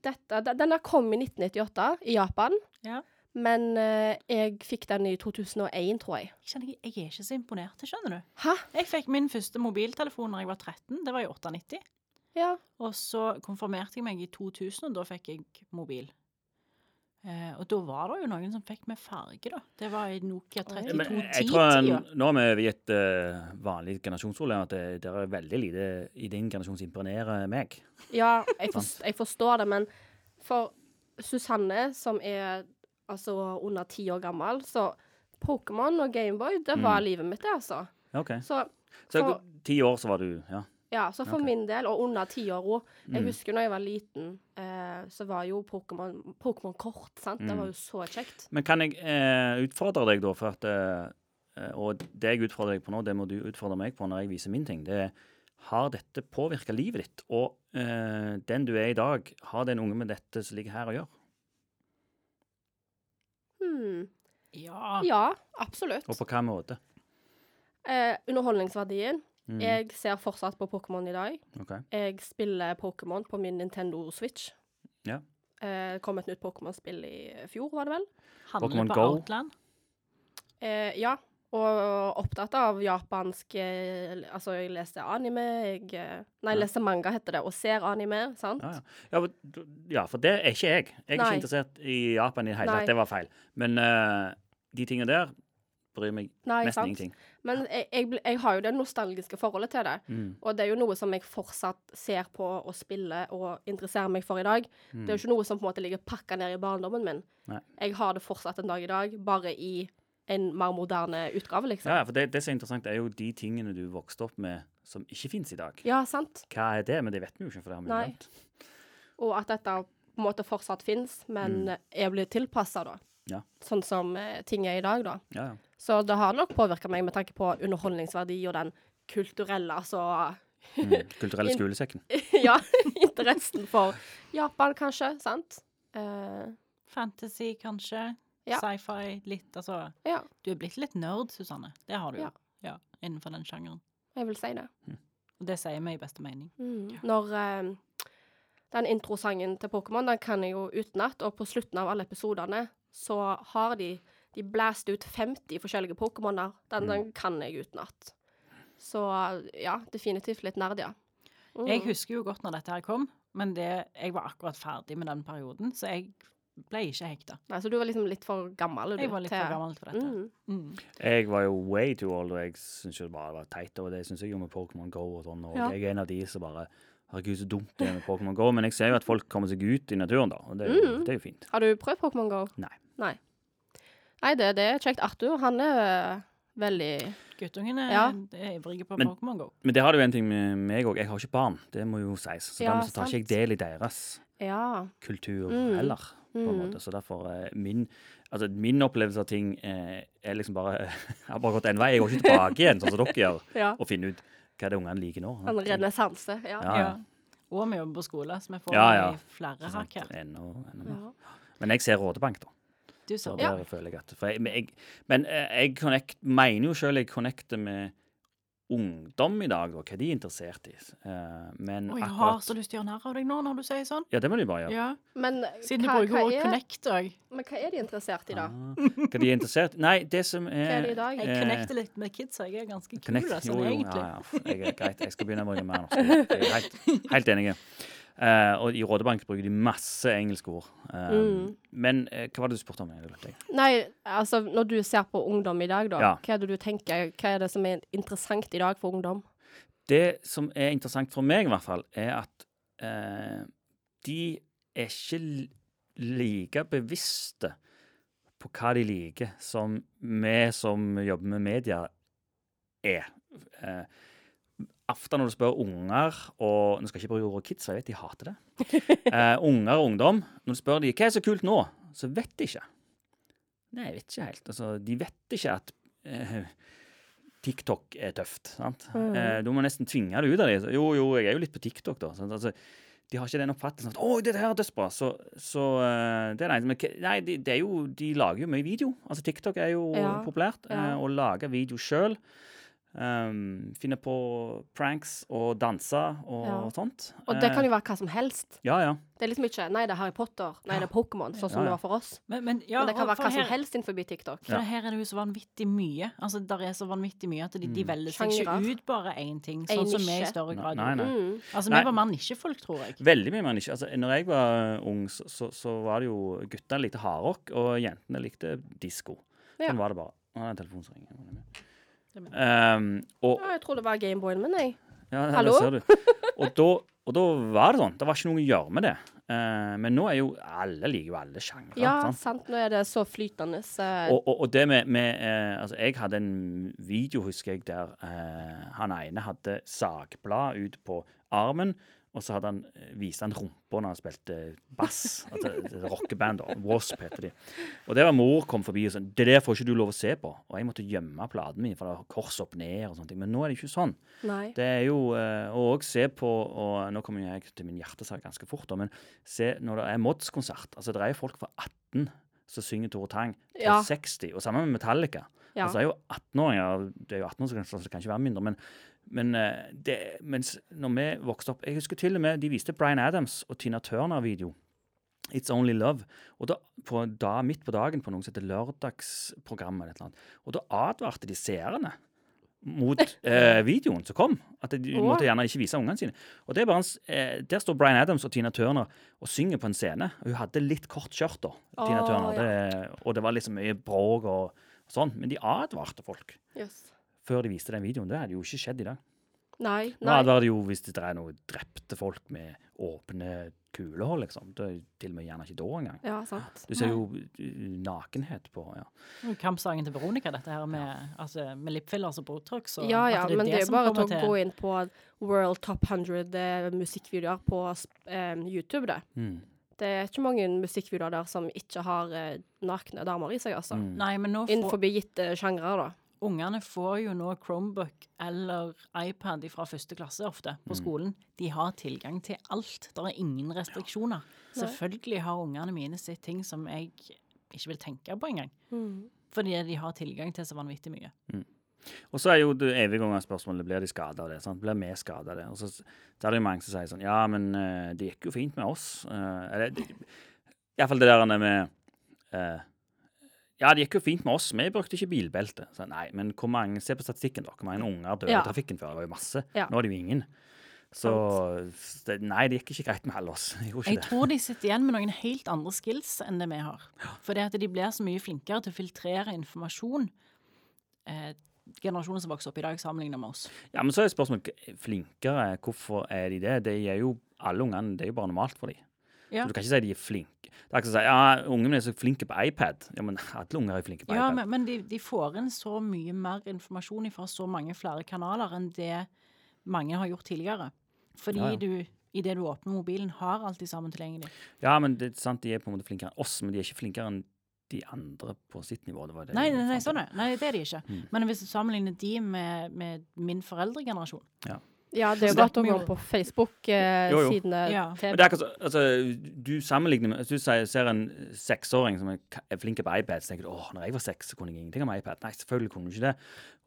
Speaker 5: Dette, de- denne kom i 1998 i Japan,
Speaker 3: Ja.
Speaker 5: men eh, jeg fikk den i 2001, tror jeg.
Speaker 3: Jeg, kjenner, ikke- jeg er ikke så imponert, skjønner du.
Speaker 5: Hæ?
Speaker 3: Jeg fikk min første mobiltelefon da jeg var 13. Det var i 98.
Speaker 5: Ja.
Speaker 3: Og så konfirmerte jeg meg i 2000, og da fikk jeg mobil. Eh, og da var det jo noen som fikk med farge, da. Det var i Nokia
Speaker 4: Ja, Men jeg
Speaker 3: 3210-tida.
Speaker 4: tror en, nå er vi over i et eh, vanlig generasjonsord, at det, det er veldig lite i din generasjon som imponerer meg.
Speaker 5: Ja, jeg, forst- jeg forstår det, men for Susanne, som er altså under ti år gammel, så Pokémon og Gameboy, det var
Speaker 4: Mm.
Speaker 5: livet mitt, det, altså.
Speaker 4: Ja, OK.
Speaker 5: Så
Speaker 4: Så
Speaker 5: for-
Speaker 4: ti år så var du Ja.
Speaker 5: Ja, så for
Speaker 4: Ok.
Speaker 5: min del, og under tiåra Jeg
Speaker 4: Mm.
Speaker 5: husker når jeg var liten, eh, så var jo Pokémon Pokémon kort, sant. Det
Speaker 4: Mm.
Speaker 5: var jo så kjekt.
Speaker 4: Men kan jeg eh, utfordre deg, da? For at eh, eh, Og det jeg utfordrer deg på nå, det må du utfordre meg på når jeg viser min ting. Det er har dette påvirka livet ditt? Og eh, den du er i dag, har den unge med dette som ligger her, å gjøre?
Speaker 5: Hmm.
Speaker 3: Ja.
Speaker 5: Ja, absolutt.
Speaker 4: Og på hva måte?
Speaker 5: Eh, underholdningsverdien.
Speaker 4: Mm.
Speaker 5: Jeg ser fortsatt på Pokémon i dag.
Speaker 4: ok.
Speaker 5: Jeg spiller Pokémon på min Nintendo Switch.
Speaker 4: Ja.
Speaker 5: Eh, det kom et nytt Pokémon-spill i fjor, var det vel?
Speaker 3: Handler
Speaker 4: Pokémon
Speaker 3: på
Speaker 4: Go.
Speaker 3: Outland.
Speaker 5: Eh, ja. Og opptatt av japansk eh, Altså, jeg leste anime jeg, eh, Nei,
Speaker 4: Ja.
Speaker 5: jeg leste manga, heter det, og ser anime, sant?
Speaker 4: Ja, ja. Ja, for- ja, for det er ikke jeg. Jeg er
Speaker 5: Nei.
Speaker 4: ikke interessert i Japan i det hele
Speaker 5: Nei.
Speaker 4: tatt. Det var feil. Men eh, de tingene der bryr meg
Speaker 5: Nei,
Speaker 4: nesten
Speaker 5: sant?
Speaker 4: ingenting.
Speaker 5: Men jeg, jeg, bl- jeg har jo det nostalgiske forholdet til det.
Speaker 4: Mm.
Speaker 5: Og det er jo noe som jeg fortsatt ser på og spiller og interesserer meg for i dag. Det er jo ikke noe som på en måte ligger pakka ned i barndommen min.
Speaker 4: Mm. Nei.
Speaker 5: Jeg har det fortsatt en dag i dag, bare i en mer moderne utgave, liksom.
Speaker 4: Ja, ja, for det, det som er interessant, er jo de tingene du vokste opp med som ikke fins i dag.
Speaker 5: Ja, sant?
Speaker 4: Hva er det? Men det vet vi jo ikke. for det har vi jo
Speaker 5: Nei.
Speaker 4: glemt.
Speaker 5: Og at dette på en måte fortsatt fins, men er blitt tilpassa, da.
Speaker 4: Mm. Ja.
Speaker 5: Sånn som eh, ting er i dag, da.
Speaker 4: Ja, ja.
Speaker 5: Så det har nok påvirka meg med tanke på underholdningsverdi og den kulturelle, altså
Speaker 4: Mm. Kulturelle
Speaker 5: In-
Speaker 4: skolesekken.
Speaker 5: Ja, interessen for Japan, kanskje. Sant? Eh,
Speaker 3: Fantasy, kanskje.
Speaker 5: Ja.
Speaker 3: Sci-fi, litt. Altså
Speaker 5: ja,
Speaker 3: Du er blitt litt nerd, Susanne. Det har du jo.
Speaker 5: Ja.
Speaker 3: Ja, innenfor den sjangeren.
Speaker 5: jeg vil si det.
Speaker 3: Og det sier vi i beste mening.
Speaker 5: Mm. Når eh, den introsangen til Pokémon, den kan jeg jo utenat, og på slutten av alle episodene så har de De blæst ut 50 forskjellige Pokémoner. Den, den
Speaker 3: Mm.
Speaker 5: kan jeg utenat. Så eh, ja, definitivt litt nerd, ja. Mm.
Speaker 3: Jeg husker jo godt når dette her kom, men det, jeg var akkurat ferdig med den perioden, så jeg ble ikke hekta.
Speaker 5: Nei, så du var liksom litt for gammel? Du,
Speaker 3: Jeg var litt for gammel for dette.
Speaker 5: Mm.
Speaker 3: Mm.
Speaker 4: Jeg var jo way too old, og jeg syntes jo det bare var teit. Og det syns jeg jo med Pokémon Go og sånn. Og
Speaker 5: Ja.
Speaker 4: jeg er en av de som bare Herregud, så dumt det er med Pokémon Go. Men jeg ser jo at folk kommer seg ut i naturen, da. Og det er jo,
Speaker 5: Mm.
Speaker 4: det er jo fint.
Speaker 5: Har du prøvd Pokémon Go?
Speaker 4: Nei.
Speaker 5: Nei, Nei det, det er kjekt. Arthur, han er eh, veldig
Speaker 3: Guttungene
Speaker 5: Ja.
Speaker 3: er ivrige på
Speaker 4: Men-
Speaker 3: Pokémon GO.
Speaker 4: Men det har du en ting med meg òg. Jeg har ikke barn, det må jo sies. Så
Speaker 5: Ja,
Speaker 4: dermed så tar ikke jeg
Speaker 5: sant.
Speaker 4: del i deres
Speaker 5: Ja.
Speaker 4: kultur
Speaker 5: Mm.
Speaker 4: heller, på en
Speaker 5: Mm.
Speaker 4: måte. Så derfor eh, min, altså, min opplevelse av ting eh, er liksom bare Jeg har bare gått én vei. Jeg går ikke tilbake igjen, sånn som dere gjør,
Speaker 5: ja.
Speaker 4: og finner ut hva det er ungene liker nå.
Speaker 5: En renessanse, Sånn ja.
Speaker 4: Ja, ja.
Speaker 3: Og vi jobber på skole, så vi får
Speaker 4: Ja, ja.
Speaker 3: flere
Speaker 4: Sant,
Speaker 3: hakk her.
Speaker 4: ennå- ennå mer.
Speaker 5: ja.
Speaker 4: Men jeg ser Rådebank, da.
Speaker 3: Du sa
Speaker 4: Så
Speaker 3: det.
Speaker 4: der føler jeg at for jeg, men jeg, Men eh, jeg connect, mener jo sjøl jeg connecter med ungdom i dag, og hva de er interessert i. Eh, men
Speaker 3: Å, jeg har
Speaker 4: akkurat
Speaker 3: så lyst til å gjøre narr av deg nå når du sier sånn.
Speaker 4: Ja, det må de bare gjøre.
Speaker 3: Ja.
Speaker 5: Men,
Speaker 3: Siden du
Speaker 5: hva,
Speaker 3: bruker
Speaker 5: hva
Speaker 3: ordet
Speaker 5: er,
Speaker 3: connect òg.
Speaker 5: men hva er de interessert i, da?
Speaker 4: Ah, hva de er interessert Nei, det som er
Speaker 5: Hva er det i dag?
Speaker 3: Jeg
Speaker 4: Eh,
Speaker 3: connecter litt med kidsa. Jeg er ganske kul,
Speaker 4: Connect-
Speaker 3: altså, egentlig.
Speaker 4: ja, ja. f- Jeg er greit. Jeg skal begynne å bruke mer norske ord. Jeg er Helt, helt enig. Eh, og i Rådebank bruker de masse engelske ord. Eh,
Speaker 5: Mm.
Speaker 4: Men eh, hva var det du spurte om? Jeg glemte det.
Speaker 5: Nei, altså når du ser på ungdom i dag, da.
Speaker 4: Ja.
Speaker 5: Hva er det du tenker, hva er det som er interessant i dag for ungdom?
Speaker 4: Det som er interessant for meg, i hvert fall, er at eh, de er ikke l- like bevisste på hva de liker, som vi som jobber med media, er. Eh, Ofte når du spør unger og Nå skal jeg ikke bruke ordet kids, jeg vet de hater det. Eh, unger og ungdom, når du spør de, hva er så kult nå, så vet de ikke. Nei, jeg vet ikke helt. Altså, de vet ikke at eh, TikTok er tøft. sant?
Speaker 5: Mm.
Speaker 4: Eh, du må nesten tvinge det ut av dem. Så, Jo, jo, jeg er jo litt på TikTok, da. Sant? Altså, de har ikke den oppfattelsen at 'Å, dette her er dødsbra'. Så, så eh, det er nei, men, hva- nei de, det er jo, de lager jo mye video. Altså, TikTok er jo
Speaker 5: Ja,
Speaker 4: populært. Eh,
Speaker 5: ja.
Speaker 4: å lage video sjøl ehm, finne på pranks og danse og
Speaker 5: Ja.
Speaker 4: sånt.
Speaker 5: Og det kan
Speaker 4: Eh,
Speaker 5: jo være hva som helst.
Speaker 4: Ja, ja.
Speaker 5: Det er liksom ikke Nei, det er Harry Potter. Nei, det er Pokémon. Sånn
Speaker 4: Ja, ja.
Speaker 5: som det var for oss.
Speaker 3: Men, men, ja,
Speaker 5: Men det kan
Speaker 3: og
Speaker 5: være
Speaker 3: for
Speaker 5: hva som
Speaker 3: her-
Speaker 5: helst innenfor TikTok.
Speaker 3: For her er det jo så vanvittig mye. Altså, Der er så vanvittig mye at de, de velger seg ikke
Speaker 5: Sjangrer.
Speaker 3: ut bare én ting,
Speaker 5: En
Speaker 3: sånn som vi i
Speaker 5: nisje.
Speaker 3: større grad
Speaker 4: Mm. Nei, nei.
Speaker 3: gjorde.
Speaker 5: Mm.
Speaker 3: Altså,
Speaker 4: Nei.
Speaker 3: Vi var mer nisjefolk, tror jeg.
Speaker 4: Veldig mye, men ikke altså, Når jeg var ung, så, så, så var det jo Gutta likte hardrock, og jentene likte disko.
Speaker 5: Ja.
Speaker 4: Sånn var det bare. Nå er det en telefon som ringer.
Speaker 3: Det mener
Speaker 4: Ehm, og,
Speaker 5: Ja, jeg tror det var Gameboyen min, jeg.
Speaker 4: ja, der
Speaker 5: Hallo?
Speaker 4: Ser du. Og, da, og da var det sånn. Det var ikke noe å gjøre med det. Eh, men nå er jo alle liker jo alle sjangre.
Speaker 5: Ja,
Speaker 4: sant?
Speaker 5: sant. Nå er det så flytende. Så
Speaker 4: og, og, og det med, med eh, Altså, jeg hadde en video, husker jeg, der eh, han ene hadde sagblad ut på armen, og så hadde han, eh, viste han rumpa når han spilte bass. Altså, det er rockeband, da. Wasp heter de. Og der var mor kom forbi og sånn Det der får ikke du lov å se på. Og jeg måtte gjemme platen min, for det var kors opp ned og sånne ting. Men nå er det ikke sånn.
Speaker 5: Nei.
Speaker 4: Det er jo eh, å òg se på og eh, Nå kommer jo jeg til min hjertesak ganske fort, da, men se når det er Mods-konsert altså Det er jo folk fra 18 som synger Tore Tang, til
Speaker 5: Ja.
Speaker 4: 60, og sammen med Metallica.
Speaker 5: Ja.
Speaker 4: Altså, det er jo 18-åringer, det er jo 18 år, så kan- så det kan ikke være mindre, men, men eh, det, mens når vi vokste opp Jeg husker til og med de viste Bryan Adams og Tina Turner-video. It's Only Love. Og da, på, da, midt på dagen på noe som heter Lørdagsprogrammet, eller et eller annet, og da advarte de seerne mot eh, videoen som kom. At de
Speaker 5: Åh.
Speaker 4: måtte gjerne ikke vise ungene sine. Og det er bare en, s- eh, Der står Bryan Adams og Tina Turner og synger på en scene. Hun hadde litt kort skjørt, da, Tina
Speaker 5: Åh,
Speaker 4: Turner. Det, og det var liksom mye bråk og sånn. Men de advarte folk
Speaker 5: Yes.
Speaker 4: før de viste den videoen. Det hadde jo ikke skjedd i dag.
Speaker 5: Nei.
Speaker 4: Nå
Speaker 5: Nei.
Speaker 4: advarer de jo hvis det er noe drepte folk med åpne kuler, liksom. Det er til og med gjerne ikke da engang.
Speaker 5: Ja, sant.
Speaker 4: Du ser jo eh, nakenhet på ja.
Speaker 3: Og Kampsangen til Veronica, dette her med, altså, med lipfillers og Botox. Og
Speaker 5: Ja, ja,
Speaker 3: at altså, det er
Speaker 5: men
Speaker 3: det,
Speaker 5: det er jo
Speaker 3: som
Speaker 5: bare
Speaker 3: kommer
Speaker 5: til å gå inn på World Top 100 eh, musikkvideoer på eh, YouTube, det.
Speaker 4: Mm.
Speaker 5: eh, Det er ikke mange musikkvideoer der som ikke har eh, nakne damer i seg, altså.
Speaker 3: Nei, men nå får,
Speaker 5: Innenfor gitte sjangre, da.
Speaker 3: Ungene får jo nå Chromebook eller iPad fra første klasse ofte på
Speaker 4: Mm.
Speaker 3: skolen. De har tilgang til alt. Det er ingen restriksjoner. Selvfølgelig har ungene mine sett ting som jeg ikke vil tenke på engang. Fordi de har tilgang til så vanvittig mye.
Speaker 4: Og så er jo det evige ganger spørsmålet blir de skada av det. Sant? Blir vi skada av det? Og så, så er det jo mange som sier sånn Ja, men eh, det gikk jo fint med oss. Eh, eller iallfall det der med eh, Ja, det gikk jo fint med oss, vi brukte ikke bilbelte. Så, nei, men hvor mange, se på statistikken, da. Hvor mange unger døde
Speaker 5: Ja.
Speaker 4: i trafikken før? Det var jo masse.
Speaker 5: Ja.
Speaker 4: Nå er det jo ingen. Så det, nei, det gikk ikke greit med alle oss. Det gjorde
Speaker 3: Jeg
Speaker 4: ikke det.
Speaker 3: tror de sitter igjen med noen helt andre skills enn det vi har. Fordi at de blir så mye flinkere til å filtrere informasjon. Eh, generasjonen som vokser opp i dag, sammenligner med oss.
Speaker 4: Ja, Men så er spørsmålet flinkere. Hvorfor er de det? Det er jo alle ungene, det er jo bare normalt for dem.
Speaker 3: Ja.
Speaker 4: Så du kan ikke si de er flinke. Det er ikke sånn å si, ja, ungene er så flinke på iPad. Ja, men alle unger er flinke på
Speaker 3: Ja,
Speaker 4: iPad.
Speaker 3: men, men de, de får inn så mye mer informasjon fra så mange flere kanaler enn det mange har gjort tidligere. Fordi
Speaker 4: Ja, ja.
Speaker 3: du idet du åpner mobilen, har alt de sammen tilgjengelig.
Speaker 4: Ja, men det er sant, de er på en måte flinkere enn oss, men de er ikke flinkere enn de andre på sitt nivå. Det var det
Speaker 3: Nei,
Speaker 4: jeg
Speaker 3: nei, nei,
Speaker 4: fant
Speaker 3: sånn
Speaker 4: ut.
Speaker 3: er. det. nei, det er de ikke.
Speaker 4: Mm.
Speaker 3: Men hvis du sammenligner de med, med min foreldregenerasjon
Speaker 5: Ja, det er
Speaker 3: Så
Speaker 5: jo bare
Speaker 3: det-
Speaker 5: til å gå inn på
Speaker 4: Jo, jo.
Speaker 5: Facebook-sidene
Speaker 3: Ja.
Speaker 5: til
Speaker 4: Men det er akkurat så- altså, du sammenligner med, hvis du sier, ser en seksåring som er, ka- er flink på iPad, så tenker du åh, når jeg var seks, så kunne jeg ingenting om iPad. Nei, selvfølgelig kunne du ikke det.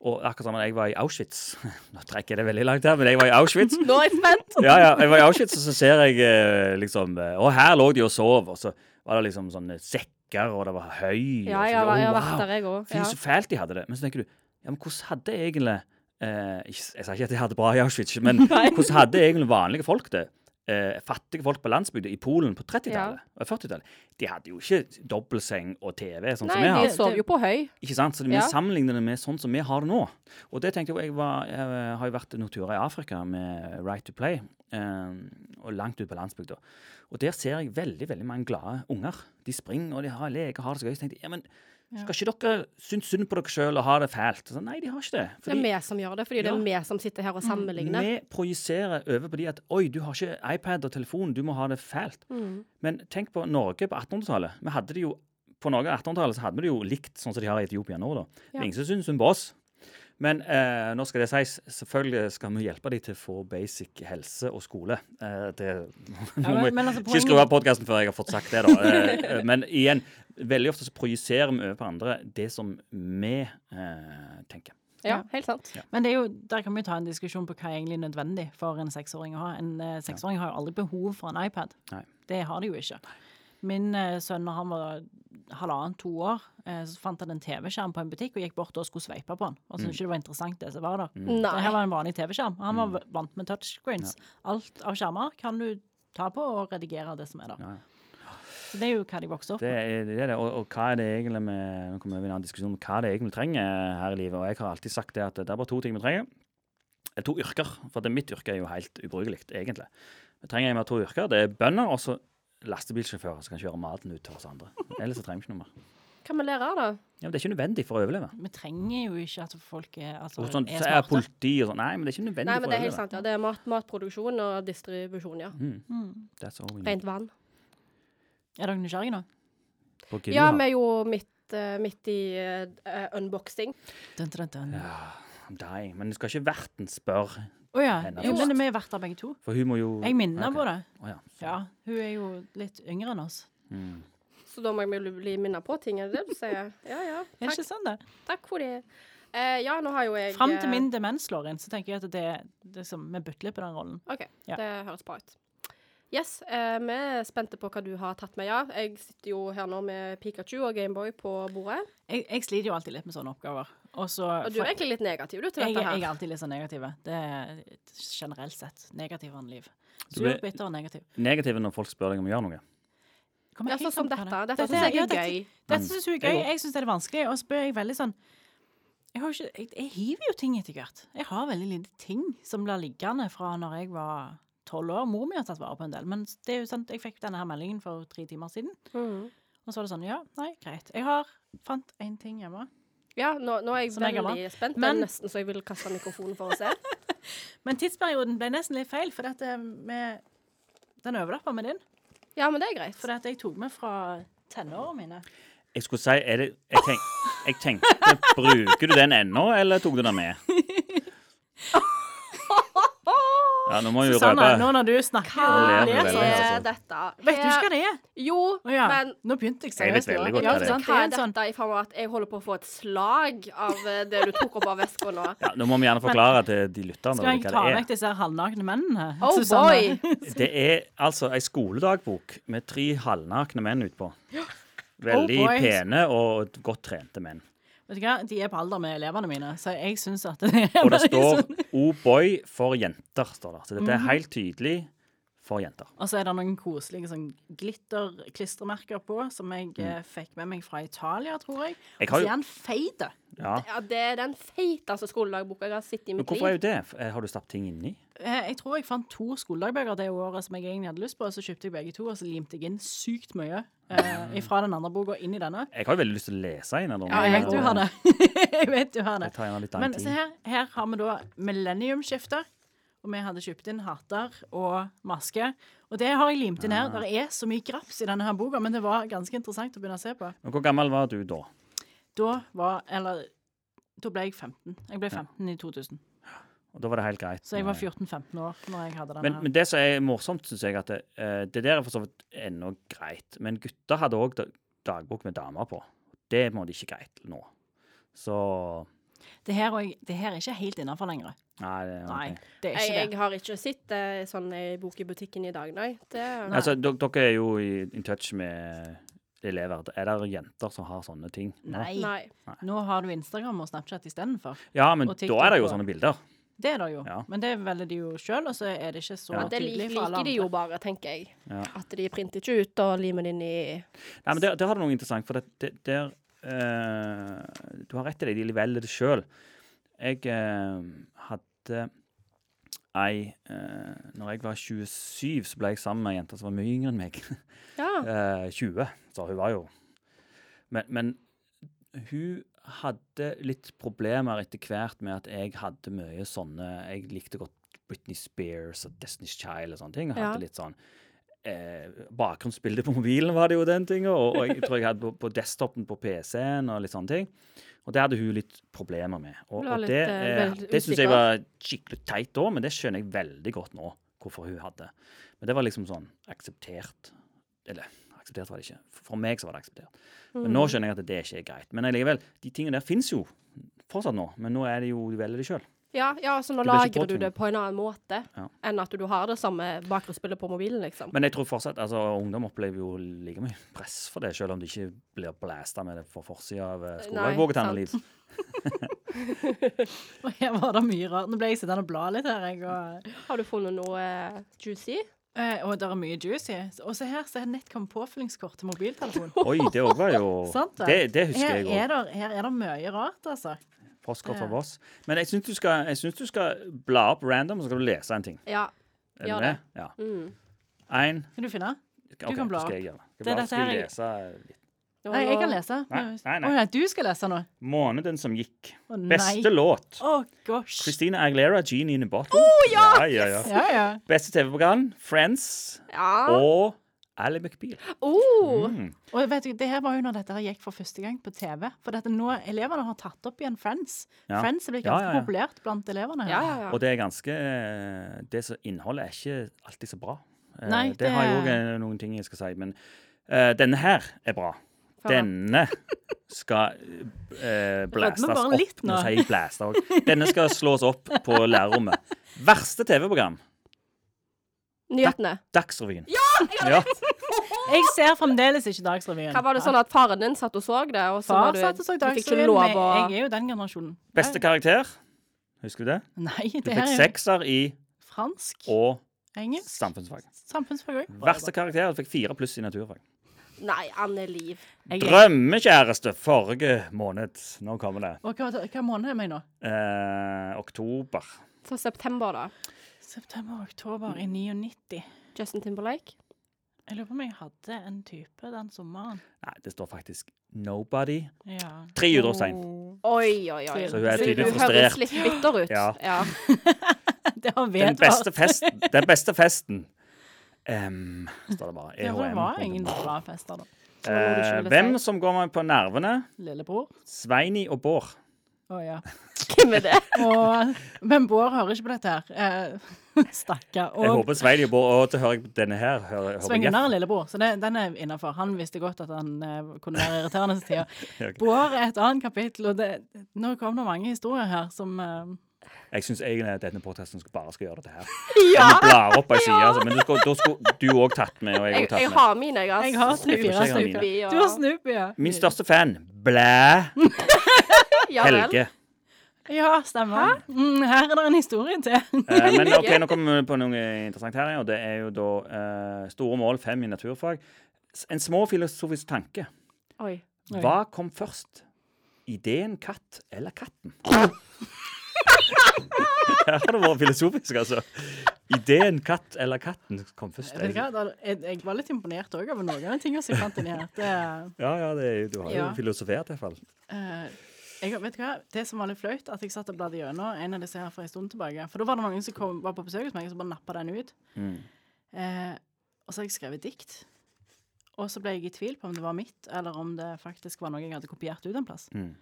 Speaker 4: Og akkurat som da jeg var i Auschwitz Nå trekker jeg det veldig langt her, men jeg var i Auschwitz.
Speaker 5: Nå er jeg spent!
Speaker 4: ja, ja. Jeg var i Auschwitz, og så ser jeg eh, liksom eh, Og her lå de og sov, og så var det liksom sånne sekker, og det var høy.
Speaker 5: Ja,
Speaker 4: og så,
Speaker 5: jeg har, jeg har
Speaker 4: «Å,
Speaker 5: vært
Speaker 4: wow,
Speaker 5: der, jeg òg.
Speaker 4: Fy,
Speaker 5: Ja.
Speaker 4: så fælt de hadde det. Men så tenker du, ja, men hvordan hadde egentlig eh, ikke, Jeg sa ikke at de hadde bra i Auschwitz, men hvordan hadde egentlig vanlige folk det? Eh, fattige folk på landsbygda i Polen på 30-tallet og 40-tallet. De hadde jo ikke dobbeltseng og TV, sånn
Speaker 5: Nei,
Speaker 4: som vi har.
Speaker 5: de sov jo på høy.
Speaker 4: Ikke sant? Så vi
Speaker 5: Ja.
Speaker 4: sammenligner det med sånn som vi har det nå. Og det tenkte jeg, jeg, var, jeg har jo vært noen turer i Afrika med Right to Play, eh, og langt ut på landsbygda. Og der ser jeg veldig veldig mange glade unger. De springer og de har leker og har det så gøy. Så tenkte jeg, ja, men skal ikke dere synes synd på dere sjøl og ha det fælt? Så, nei, de har ikke det.
Speaker 5: Det er vi som gjør det, fordi Mm. det
Speaker 4: Ja.
Speaker 5: er vi som sitter her og sammenligner.
Speaker 4: Vi projiserer over på de at oi, du har ikke iPad og telefon, du må ha det fælt. Men tenk på Norge på 1800-tallet. Vi hadde det jo på Norge på 1800-tallet så hadde vi det jo likt sånn som de har i Etiopia nå. da. Det er Ingen som syns synd på oss. Men eh, nå skal det sies, selvfølgelig skal vi hjelpe dem til å få basic helse og skole. Eh, det
Speaker 3: Ja, men-
Speaker 4: må vi
Speaker 3: men altså,
Speaker 4: ikke skru av podkasten før jeg har fått sagt det, da. Eh, eh, men igjen, veldig ofte så projiserer vi over på andre det som vi eh, tenker.
Speaker 5: Ja,
Speaker 3: Ja.
Speaker 5: helt sant.
Speaker 3: Men det er jo, der kan vi jo ta en diskusjon på hva er egentlig nødvendig for en seksåring å ha. En eh, seksåring har jo aldri behov for en iPad.
Speaker 4: Nei.
Speaker 3: Det har de jo ikke. Min eh, sønn, når han var halvannen-to år, eh, så fant han en TV-skjerm på en butikk og gikk bort og skulle sveipe på den. Og
Speaker 4: Mm.
Speaker 3: syntes ikke det var interessant, det som var der. Det her
Speaker 5: Nei.
Speaker 3: var en vanlig TV-skjerm. Han
Speaker 4: Mm.
Speaker 3: var v- vant med touchscreens. Alt av skjermer kan du ta på og redigere det som er der.
Speaker 4: Ja, ja.
Speaker 3: Så det er jo hva de vokser opp
Speaker 4: Det
Speaker 3: med.
Speaker 4: er det. er det. Og, og hva er det egentlig vi Nå kommer vi over i en annen diskusjon om hva det er egentlig vi trenger her i livet. Og jeg har alltid sagt det at det er bare to ting vi trenger. Eller to yrker. For det, mitt yrke er jo helt ubrukelig, egentlig. Vi trenger mer to yrker. Det er bønder og så lastebilsjåfører som kan kjøre maten ut til oss andre. Ellers så trenger vi ikke noe mer.
Speaker 5: Hva med lærere, da?
Speaker 4: Ja, men det er ikke nødvendig for å overleve.
Speaker 3: Vi trenger jo ikke at folk er, altså,
Speaker 4: Og sånn,
Speaker 3: er
Speaker 4: så er
Speaker 3: smarte.
Speaker 4: politi og sånn. Nei, men det er ikke nødvendig
Speaker 5: Nei, men
Speaker 4: for
Speaker 5: det
Speaker 4: å
Speaker 5: er helt
Speaker 4: overleve. Mm.
Speaker 5: sant. ja. Det er mat, matproduksjon og distribusjon, ja.
Speaker 4: That's all we need.
Speaker 5: Rent vann.
Speaker 3: Er dere nysgjerrige nå?
Speaker 4: På Gilde
Speaker 5: Ja,
Speaker 4: har-
Speaker 5: vi er jo midt, eh, midt i eh, unboxing.
Speaker 3: Dun, dun, dun.
Speaker 4: I'm dying. Men du skal ikke verten spørre,
Speaker 3: Å ja.
Speaker 4: Henne
Speaker 3: Jo,
Speaker 4: først.
Speaker 3: men vi er verter begge to.
Speaker 4: for hun må jo
Speaker 3: Jeg minner
Speaker 4: Ok.
Speaker 3: på det.
Speaker 4: Å ja. sånn. Mm.
Speaker 3: Ja, hun er jo litt yngre enn oss.
Speaker 5: Så da må jeg bli- bli minnet på ting, er det det du sier? Ja, ja.
Speaker 3: Er det
Speaker 5: Takk,
Speaker 3: ikke sånn det?
Speaker 5: takk for det. Eh, ja, nå har jo jeg
Speaker 3: Fram til
Speaker 5: eh,
Speaker 3: min demens slår inn, så tenker jeg at det, det er som, vi bytter litt på den rollen.
Speaker 5: OK,
Speaker 3: Ja.
Speaker 5: det høres bra ut. Yes, eh, vi er spente på hva du har tatt med. Ja, jeg sitter jo her nå med Pikachu og Gameboy på bordet.
Speaker 3: Jeg, jeg sliter jo alltid litt med sånne oppgaver. Og så
Speaker 5: Og du er egentlig litt negativ du, til
Speaker 3: jeg,
Speaker 5: dette
Speaker 3: jeg er
Speaker 5: her.
Speaker 3: alltid litt sånn negativ. Det er et generelt sett negativ enn liv.
Speaker 4: Du
Speaker 3: Sur,
Speaker 4: ble-
Speaker 3: bitter og negativ.
Speaker 4: Negative når folk spør deg om å gjøre noe.
Speaker 3: Kommer
Speaker 5: Ja,
Speaker 3: helt
Speaker 5: sånn som
Speaker 3: an på det.
Speaker 5: dette. Dette synes jeg
Speaker 3: ja,
Speaker 5: er gøy.
Speaker 3: Dette, dette synes jeg er
Speaker 4: Jeg
Speaker 3: gøy.
Speaker 4: også.
Speaker 3: Jeg synes det er vanskelig. Og så blir jeg veldig sånn jeg, har jo ikke, jeg, jeg hiver jo ting etter hvert. Jeg har veldig lite ting som blir liggende fra når jeg var tolv år. Mor mi har tatt vare på en del. Men det er jo sant, jeg fikk denne her meldingen for tre timer siden.
Speaker 5: Mhm.
Speaker 3: Og så var det sånn Ja, nei, greit. Jeg har fant én ting hjemme.
Speaker 5: Ja, nå, nå er jeg
Speaker 3: Som jeg er
Speaker 5: veldig spent.
Speaker 3: Men-
Speaker 5: det er nesten så jeg vil kaste mikrofonen for å se.
Speaker 3: Men tidsperioden ble nesten litt feil, for dette med Den overlappa med din.
Speaker 5: Ja, men det er greit.
Speaker 3: For dette jeg tok med fra tenårene mine.
Speaker 4: Jeg skulle si er det, jeg, tenk, jeg tenkte Bruker du den ennå, eller tok du den med? Ja, nå må jeg jo røpe
Speaker 3: Susanne, nå når du snakker
Speaker 4: Hva
Speaker 3: og ler
Speaker 4: er altså.
Speaker 3: sånn,
Speaker 4: det?
Speaker 5: Er dette
Speaker 3: Vet du ikke hva det er?
Speaker 5: Jo,
Speaker 3: Å ja.
Speaker 5: men
Speaker 3: Nå begynte jeg
Speaker 4: Jeg vet
Speaker 3: seriøst. i år.
Speaker 4: veldig godt
Speaker 3: ja,
Speaker 4: hva det er.
Speaker 3: sant,
Speaker 5: hva
Speaker 3: det er
Speaker 5: er
Speaker 3: en sånn,
Speaker 5: dette i form av at jeg holder på å få et slag av eh, det du tok opp av veska nå?
Speaker 4: ja, Nå må vi gjerne forklare til de lytterne
Speaker 3: Skal jeg ta
Speaker 4: hva det
Speaker 3: vekk disse her halvnakne mennene?
Speaker 5: Oh
Speaker 3: Susanne?
Speaker 5: boy!
Speaker 4: er. Det er altså ei skoledagbok med tre halvnakne menn utpå. Veldig
Speaker 3: Oh, boy.
Speaker 4: pene og godt trente menn.
Speaker 3: Vet du hva, De er på alder med elevene mine, så jeg syns at det er
Speaker 4: Og det
Speaker 3: veldig
Speaker 4: står
Speaker 3: sånn. Mhm.
Speaker 4: 'O boy for jenter'. står det. Så dette er helt tydelig for jenter.
Speaker 3: Og så er det noen koselige sånn glitterklistremerker på, som jeg eh, fikk med meg fra Italia, tror jeg.
Speaker 4: Mm. Jeg
Speaker 3: Og
Speaker 4: har
Speaker 3: så
Speaker 4: jo-
Speaker 3: er han feit.
Speaker 4: Ja.
Speaker 5: Ja, det er den feiteste skoledagboka jeg har sett i
Speaker 4: Men
Speaker 5: mitt
Speaker 4: hvorfor er
Speaker 5: liv.
Speaker 4: jo det? Eh, Har du stappet ting inni?
Speaker 3: Eh, Jeg tror jeg fant to skoledagbøker det året som jeg egentlig hadde lyst på, og så kjøpte jeg begge to, og så limte jeg inn sykt mye
Speaker 4: Mm.
Speaker 3: eh, fra den andre boka inn i denne.
Speaker 4: Jeg har jo veldig lyst til å lese en av dem.
Speaker 3: Ja, jeg vet du har det. jeg vet du har det.
Speaker 4: Jeg tar gjerne litt annen
Speaker 3: Men
Speaker 4: tid.
Speaker 3: se her, her har vi da millenniumsskiftet. Og vi hadde kjøpt inn hatter og maske. Og det har jeg limt inn her. Det er så mye graps i denne her boka, men det var ganske interessant å begynne å se på.
Speaker 4: Men hvor gammel var du da?
Speaker 3: Da var Eller da ble jeg 15. Jeg ble 15 i 2000.
Speaker 4: Og da var det helt greit.
Speaker 3: Så jeg var 14-15 år når jeg hadde
Speaker 4: Men,
Speaker 3: denne. her.
Speaker 4: men det som er morsomt, syns jeg, at det, eh, det der er for så vidt ennå greit. Men gutter hadde òg dagbok med damer på. Det må de ikke greit nå. Så
Speaker 3: Det her, og jeg, det her er ikke helt innafor lenger.
Speaker 4: Nei. Det, er ok.
Speaker 3: Nei, det er
Speaker 5: Jeg,
Speaker 3: ikke det.
Speaker 5: jeg har ikke sett eh, sånn ei bok i butikken i dag, nei. Det,
Speaker 4: Altså, dere, dere er jo i in touch med elever. Er det jenter som har sånne ting? nå?
Speaker 3: Nei.
Speaker 5: nei.
Speaker 3: Nå har du Instagram og Snapchat istedenfor.
Speaker 4: Ja, men
Speaker 3: Og
Speaker 4: da er det jo
Speaker 3: TikTok og-
Speaker 4: sånne bilder.
Speaker 3: Det er det jo.
Speaker 4: Ja.
Speaker 3: Men det velger de jo sjøl, og så er det ikke så
Speaker 5: Det lik-
Speaker 3: tydelig for alle
Speaker 5: liker de
Speaker 3: andre.
Speaker 5: jo bare, tenker jeg.
Speaker 4: Ja.
Speaker 5: At de printer ikke ut og limer det inn i
Speaker 4: Nei, men der, der har du noe interessant, for det, det, der eh, Du har rett i det, de velger det sjøl. Jeg eh, hadde ei uh, Når jeg var 27, så ble jeg sammen med ei jente som var mye yngre enn meg.
Speaker 5: Ja.
Speaker 4: Eh, 20, så hun var jo men, men hun hadde litt problemer etter hvert med at jeg hadde mye sånne Jeg likte godt Britney Spears og Destiny's Child og sånne ting. Og
Speaker 5: Ja.
Speaker 4: hadde litt sånn eh, Bakgrunnsbildet på mobilen var det jo den tinga, og, og jeg tror jeg hadde på, på desktopen på PC-en og litt sånne ting. Og det hadde hun litt problemer med. Og,
Speaker 5: Hun var
Speaker 4: og
Speaker 5: litt,
Speaker 4: det,
Speaker 5: eh,
Speaker 4: eh,
Speaker 5: vel
Speaker 4: det syns jeg
Speaker 5: usikker.
Speaker 4: var skikkelig teit da, men det skjønner jeg veldig godt nå, hvorfor hun hadde. Men det var liksom sånn akseptert. Eller akseptert var det
Speaker 5: Mm.
Speaker 4: ikke. For- For meg så var det akseptert. Men nå skjønner jeg at det ikke er greit. Men allikevel, de tingene der fins jo fortsatt nå, men nå er det jo du velger det sjøl.
Speaker 5: Ja, ja, så nå
Speaker 4: Du blir ikke
Speaker 5: lagrer du det
Speaker 4: påtvunget.
Speaker 5: på en annen måte
Speaker 4: Ja.
Speaker 5: enn at du har det samme bakgrunnsbildet på mobilen, liksom.
Speaker 4: Men jeg tror fortsatt altså, ungdom opplever jo like mye press for det, selv om de ikke blir blæsta med det fra forsida av eh,
Speaker 5: Nei,
Speaker 4: skolevåget. Hanne Liv.
Speaker 3: Og her var det mye rart. Nå ble jeg sittende og bla litt her, jeg. Og,
Speaker 5: Har du funnet noe eh, juicy?
Speaker 3: eh, og det er mye juicy. Og se her, se nett kom påfyllingskort til mobiltelefon.
Speaker 4: Oi, det òg var jo
Speaker 3: Sant det?
Speaker 4: det, det husker
Speaker 3: Her
Speaker 4: jeg òg.
Speaker 3: er, det, her er det mye rart, altså.
Speaker 4: Postkort fra
Speaker 3: Ja.
Speaker 4: Voss. Men jeg syns du, skal- jeg syns du skal bla opp random, og så skal du lese en ting.
Speaker 5: Ja.
Speaker 4: Er
Speaker 5: Gjør
Speaker 4: du med? Ja.
Speaker 5: Mm.
Speaker 4: Én
Speaker 3: Kan du finne?
Speaker 4: Ok,
Speaker 3: kan bla
Speaker 4: da
Speaker 3: opp.
Speaker 4: Skal jeg gjøre. det.
Speaker 3: Det er
Speaker 4: Skal jeg bla,
Speaker 3: dette
Speaker 4: skal jeg
Speaker 3: her jeg-
Speaker 4: lese litt.
Speaker 5: Nå-
Speaker 3: Nei, jeg kan lese.
Speaker 4: Nei, nei, nei.
Speaker 3: Å ja, du skal lese nå.
Speaker 4: Måneden som gikk.
Speaker 3: Å nei.
Speaker 4: Beste låt.
Speaker 3: Å gosh.
Speaker 4: Christina Aguilera, 'Genie in a Bottle'. Oh, ja! Ja, ja,
Speaker 3: Ja, ja.
Speaker 4: Beste TV-program, 'Friends'
Speaker 5: Ja.
Speaker 4: og Ally McBeal.
Speaker 5: Oh.
Speaker 4: Mm.
Speaker 3: Og vet du, det her var jo når dette her gikk for første gang på TV. For dette nå, elevene har tatt opp igjen Friends.
Speaker 4: Ja.
Speaker 3: Friends er blitt
Speaker 4: Ja,
Speaker 3: ganske
Speaker 4: ja, ja.
Speaker 3: populært blant elevene.
Speaker 5: Ja,
Speaker 3: her.
Speaker 5: ja, ja.
Speaker 4: Og det er ganske eh, det som Innholdet er ikke alltid så bra. Eh,
Speaker 3: Nei,
Speaker 4: det,
Speaker 3: det-
Speaker 4: har jeg òg eh, noen ting jeg skal si, men eh, denne her er bra. Denne skal eh, blastes
Speaker 3: bare
Speaker 4: opp.
Speaker 3: litt
Speaker 4: Nå
Speaker 3: nå.
Speaker 4: sier jeg blæsta også. Denne skal slås opp på lærerrommet. Verste TV-program.
Speaker 5: Nyhetene.
Speaker 4: Dagsrevyen. Ja!
Speaker 3: Jeg ser fremdeles ikke Dagsrevyen.
Speaker 5: Hva var det sånn at faren din satt og så det, og så var
Speaker 3: Far
Speaker 5: du,
Speaker 3: satt og så
Speaker 5: du fikk ikke
Speaker 3: Dagsrevyen,
Speaker 5: lov
Speaker 3: men
Speaker 5: å
Speaker 3: jeg er jo den generasjonen.
Speaker 4: Beste karakter. Husker du det?
Speaker 3: Nei,
Speaker 4: Du
Speaker 3: det her
Speaker 4: fikk
Speaker 3: er jo
Speaker 4: sekser i
Speaker 3: fransk,
Speaker 4: og
Speaker 3: engelsk,
Speaker 4: samfunnsfag.
Speaker 3: samfunnsfag òg.
Speaker 4: Verste karakter. Du fikk fire pluss i naturfag.
Speaker 5: Nei, Anne Liv.
Speaker 4: Drømmekjæreste forrige måned. Nå kommer det.
Speaker 3: Og hva, hva måned er vi i nå?
Speaker 4: Eh, oktober.
Speaker 5: Så september, da.
Speaker 3: September, oktober i 99.
Speaker 5: Justin Timberlake.
Speaker 3: Jeg lurer på om jeg hadde en type den sommeren.
Speaker 4: Nei, det står faktisk Nobody.
Speaker 3: Ja.
Speaker 4: 300 år sein.
Speaker 5: Oi, oi, oi.
Speaker 3: Så
Speaker 4: hun er tydelig
Speaker 5: Du
Speaker 4: frustrert.
Speaker 5: høres litt bitter ut.
Speaker 4: Ja.
Speaker 5: Ja.
Speaker 3: Det har
Speaker 4: Den
Speaker 3: vedvart.
Speaker 4: beste festen. Den beste festen. Em, står det bare.
Speaker 3: Ja, for det var
Speaker 4: EHM.
Speaker 3: ingen bra fester da.
Speaker 4: Eh, hvem som går meg på nervene?
Speaker 3: Lillebror.
Speaker 4: Sveini og Bård.
Speaker 3: Å ja.
Speaker 5: Hvem er det?
Speaker 3: Og, men Bård hører ikke på dette her. Eh, Stakkar.
Speaker 4: Jeg
Speaker 3: Og
Speaker 4: håper Sveini og Bård Og til hører jeg denne her. Hører, hører jeg.
Speaker 3: Svengunar er lillebror, så det, den er innafor. Han visste godt at han eh, kunne være irriterende til
Speaker 4: Ja,
Speaker 3: tider.
Speaker 4: ok.
Speaker 3: Bård er et annet kapittel, og det, nå kom det mange historier her som eh,
Speaker 4: Jeg syns egentlig at denne protesten skulle- bare skal gjøre dette her.
Speaker 5: Ja!
Speaker 4: Vi blar opp ei side, altså. Men du skulle- da skulle du òg tatt med, og jeg
Speaker 5: Jeg,
Speaker 4: òg tatt
Speaker 5: jeg
Speaker 4: med.
Speaker 5: har mine, jeg.
Speaker 3: Jeg har
Speaker 4: Snoopy,
Speaker 3: Snoopy.
Speaker 4: jeg har mine.
Speaker 5: Snoopy,
Speaker 3: Du har Snoopy, ja.
Speaker 4: Min største fan, Blæ
Speaker 5: Ja vel.
Speaker 4: Helge.
Speaker 3: Ja, stemmer. Mm, her er det en historie til.
Speaker 4: Eh, men ok, nå kommer vi på noe interessant her, og det er jo da eh, store mål fem i naturfag. S- En små filosofisk tanke.
Speaker 5: Oi.
Speaker 3: Oi.
Speaker 4: Hva kom først? Ideen katt eller katten? Her har det vært filosofisk, altså. Ideen katt eller katten kom først.
Speaker 3: Vet du hva? Da, jeg, jeg var litt imponert òg over noen av tingene som jeg fant inni her. Det,
Speaker 4: Ja, ja, det er, jo- du har jo
Speaker 3: Ja.
Speaker 4: filosofert i hvert fall.
Speaker 3: Eh, jeg, vet du hva? Det som var litt flaut, at jeg satt og bladde gjennom en av disse her for en stund tilbake. For da var det noen som kom, var på besøk hos meg, og så bare nappa den ut. Eh, og så har jeg skrevet dikt. Og så ble jeg i tvil på om det var mitt, eller om det faktisk var noe jeg hadde kopiert ut en plass.
Speaker 4: Mm.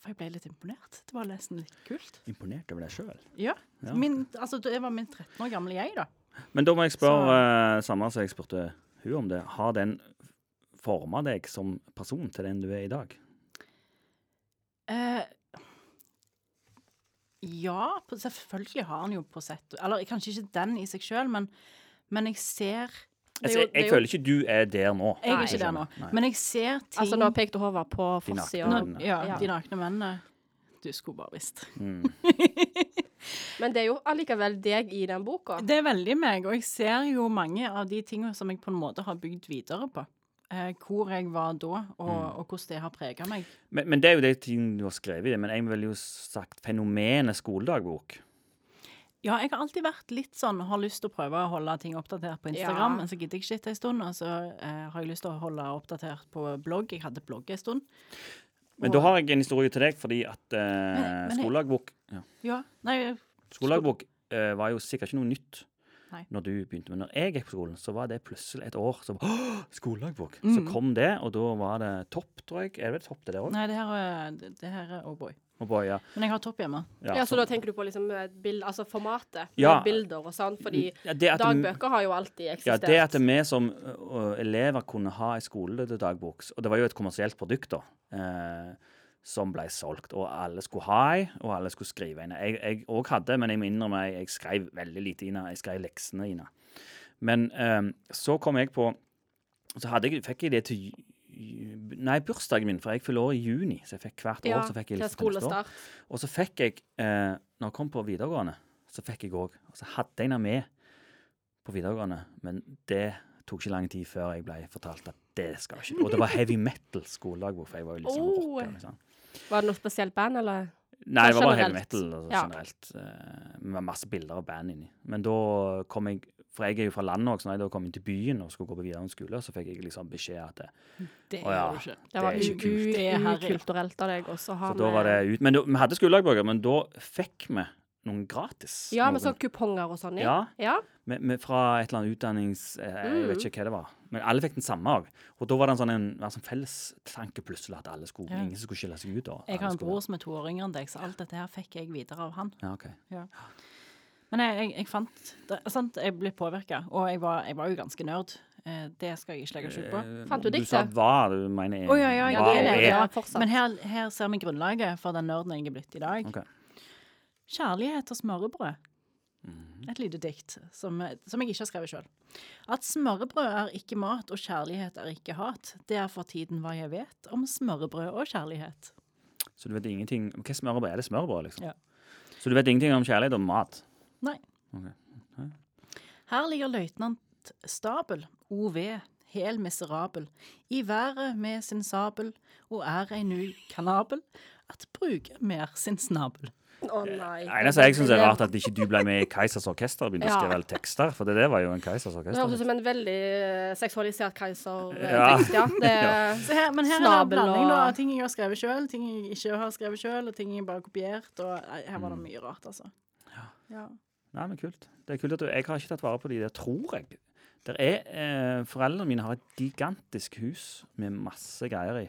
Speaker 3: For jeg ble litt imponert. Det var nesten litt kult.
Speaker 4: Imponert over deg sjøl.
Speaker 3: Ja.
Speaker 4: Ja.
Speaker 3: Min, altså, det var min 13 år gamle jeg, da.
Speaker 4: Men da må jeg spørre eh, samme som jeg spurte hun om det. Har den forma deg som person til den du er i dag?
Speaker 3: Eh, ja, på- selvfølgelig har han jo på sett Eller kanskje ikke den i seg sjøl, men, men jeg ser
Speaker 4: Jeg,
Speaker 3: det er jo-
Speaker 4: ser- Altså, jeg
Speaker 3: det er jo-
Speaker 4: føler ikke du er der nå.
Speaker 3: Jeg er
Speaker 5: Nei.
Speaker 3: ikke der nå.
Speaker 4: Nei.
Speaker 3: Men jeg ser ting
Speaker 5: Altså, nå pekte Håvard på
Speaker 4: Din
Speaker 5: forsida.
Speaker 4: akten.
Speaker 3: Nå- ja,
Speaker 5: Ja.
Speaker 3: De nakne mennene. Du skulle bare visst.
Speaker 5: Men det er jo allikevel deg i den boka.
Speaker 3: Det er veldig meg, og jeg ser jo mange av de tingene som jeg på en måte har bygd videre på. Eh, hvor jeg var da, og, og hvordan det har prega meg.
Speaker 4: Men, men det er jo det ting du har skrevet i det. Men jeg ville jo sagt fenomenet skoledagbok.
Speaker 3: Ja, jeg har alltid vært litt sånn, har lyst til å prøve å holde ting oppdatert på Instagram,
Speaker 5: Ja.
Speaker 3: men så gidder jeg ikke etter en stund, og så eh, har jeg lyst til å holde oppdatert på blogg. Jeg hadde blogg en stund.
Speaker 4: Men da har jeg en historie til deg, fordi at eh,
Speaker 3: men jeg-
Speaker 4: skoledagbok, ja,
Speaker 3: Ja, nei,
Speaker 4: skoledagbok eh, var jo sikkert ikke noe nytt
Speaker 3: Nei.
Speaker 4: når du begynte. Men når jeg gikk på skolen, så var det plutselig et år som Åh, skoledagbok! Så
Speaker 3: Mhm.
Speaker 4: kom det, og da var det topp, tror jeg. Er det topp det der òg?
Speaker 3: nei det, her, er- det, det her er O'boy.
Speaker 4: Og bare, ja,
Speaker 3: Men jeg har topp hjemme.
Speaker 5: Ja, Så da tenker du på liksom eh, bild, altså formatet?
Speaker 4: Ja.
Speaker 5: med Bilder og sånn? Fordi
Speaker 4: Ja, det at-
Speaker 5: dagbøker har jo alltid
Speaker 4: Ja,
Speaker 5: eksistert.
Speaker 4: det at vi som ø, ø, elever kunne ha ei skoledagbok, og det var jo et kommersielt produkt, da, eh, som ble solgt. Og alle skulle ha ei, og alle skulle skrive inn. Jeg- Jeg òg hadde, men jeg må innrømme jeg, jeg skrev veldig lite inn. Jeg skrev leksene inn. Men eh, så kom jeg på Så hadde jeg, fikk jeg det til ju- ju- Nei, bursdagen min, for jeg fyller år i juni. Så jeg fikk hvert år
Speaker 5: Ja,
Speaker 4: så fikk jeg
Speaker 5: til
Speaker 4: liste neste år.
Speaker 5: skolestart.
Speaker 4: Og så fikk jeg, eh, når jeg kom på videregående, så fikk jeg òg. Og så hadde jeg den med på videregående, men det tok ikke lang tid før jeg ble fortalt at det skal ikke du. Og det var heavy metal skoledagbok, for jeg var jo liksom
Speaker 5: Oh.
Speaker 4: rocker. Liksom.
Speaker 5: Var det noe spesielt band, eller?
Speaker 4: Nei, det var bare heavy
Speaker 5: generelt.
Speaker 4: metal altså,
Speaker 5: Ja.
Speaker 4: generelt. eh, Med masse bilder av band inni. Men da kom jeg For jeg er jo fra landet òg, så når jeg da kom inn til byen og skulle gå på videregående skole, så fikk jeg liksom beskjed at det,
Speaker 3: Det
Speaker 4: Å,
Speaker 3: gjør
Speaker 4: ja.
Speaker 3: du ikke.
Speaker 4: det
Speaker 5: Det var
Speaker 4: er ikke kult.
Speaker 3: Det er
Speaker 5: u-
Speaker 3: herre.
Speaker 5: ukulturelt av deg også å ha
Speaker 4: Så da var det ut. Men da, vi hadde skoledagbøker, men da fikk vi noen gratis.
Speaker 5: Ja, med
Speaker 4: Noen-
Speaker 5: sånn kuponger og sånn i.
Speaker 4: Ja.
Speaker 5: ja.
Speaker 4: med, med, fra et eller annet utdannings... Eh, Jeg vet ikke hva det var. Men alle fikk den samme òg. Og da var det en sånn, en, en sånn fellestanke plutselig at alle skulle,
Speaker 3: Ja.
Speaker 4: ingen skulle skille seg ut. da.
Speaker 3: Jeg
Speaker 4: Alle
Speaker 3: har en
Speaker 4: skulle-
Speaker 3: bror som er to år yngre enn deg, så alt dette her fikk jeg videre av han.
Speaker 4: Ja, ok.
Speaker 3: Men jeg, jeg, jeg fant det, sant, Jeg ble påvirka, og jeg var, jeg var jo ganske nerd. Eh, Det skal jeg ikke legge skjul på.
Speaker 5: Fant du
Speaker 4: Du sa
Speaker 5: diktet?
Speaker 4: var, du mener
Speaker 3: Å ja, ja,
Speaker 4: var
Speaker 3: jeg
Speaker 5: det
Speaker 4: og
Speaker 5: er
Speaker 3: er
Speaker 5: det.
Speaker 4: Eh, er.
Speaker 5: Ja,
Speaker 3: Ja,
Speaker 5: fortsatt.
Speaker 3: Men her, her ser vi grunnlaget for den nerden jeg er blitt i dag.
Speaker 4: Ok.
Speaker 3: Kjærlighet og smørrebrød. Et lite dikt som, som jeg ikke har skrevet sjøl. At smørrebrød er ikke mat og kjærlighet er ikke hat, det er for tiden hva jeg vet om smørrebrød og kjærlighet.
Speaker 4: Så du vet ingenting Hva smørbrød? Er det smørbrød, liksom?
Speaker 3: Ja.
Speaker 4: Så du vet ingenting om kjærlighet og mat?
Speaker 3: Nei.
Speaker 4: Ok.
Speaker 3: Her ligger løytnant Stabel, OV, hel miserabel, i været med sin sabel, og er ei nu kanabel, at bruke mer sin snabel.
Speaker 5: Å nei.
Speaker 4: Det eneste jeg syns er rart, at ikke du ble med i Keisers orkester og begynte å
Speaker 5: Ja.
Speaker 4: skrive tekster, for det der var jo en Keisers
Speaker 5: Det høres ut
Speaker 4: orkester.
Speaker 5: som en veldig eh, seksualisert keiser. eh,
Speaker 4: Ja.
Speaker 5: tekst, ja. Det,
Speaker 3: Så her, men her er det
Speaker 5: Snabel
Speaker 3: en blanding
Speaker 5: og-
Speaker 3: da, av ting jeg har skrevet sjøl, ting jeg ikke har skrevet sjøl, og ting jeg bare har kopiert. Og nei, her var det mye rart, altså. Ja.
Speaker 4: Nei, men kult. Det er kult at du, Jeg har ikke tatt vare på de der, tror jeg. Der er, eh, foreldrene mine har et gigantisk hus med masse greier i.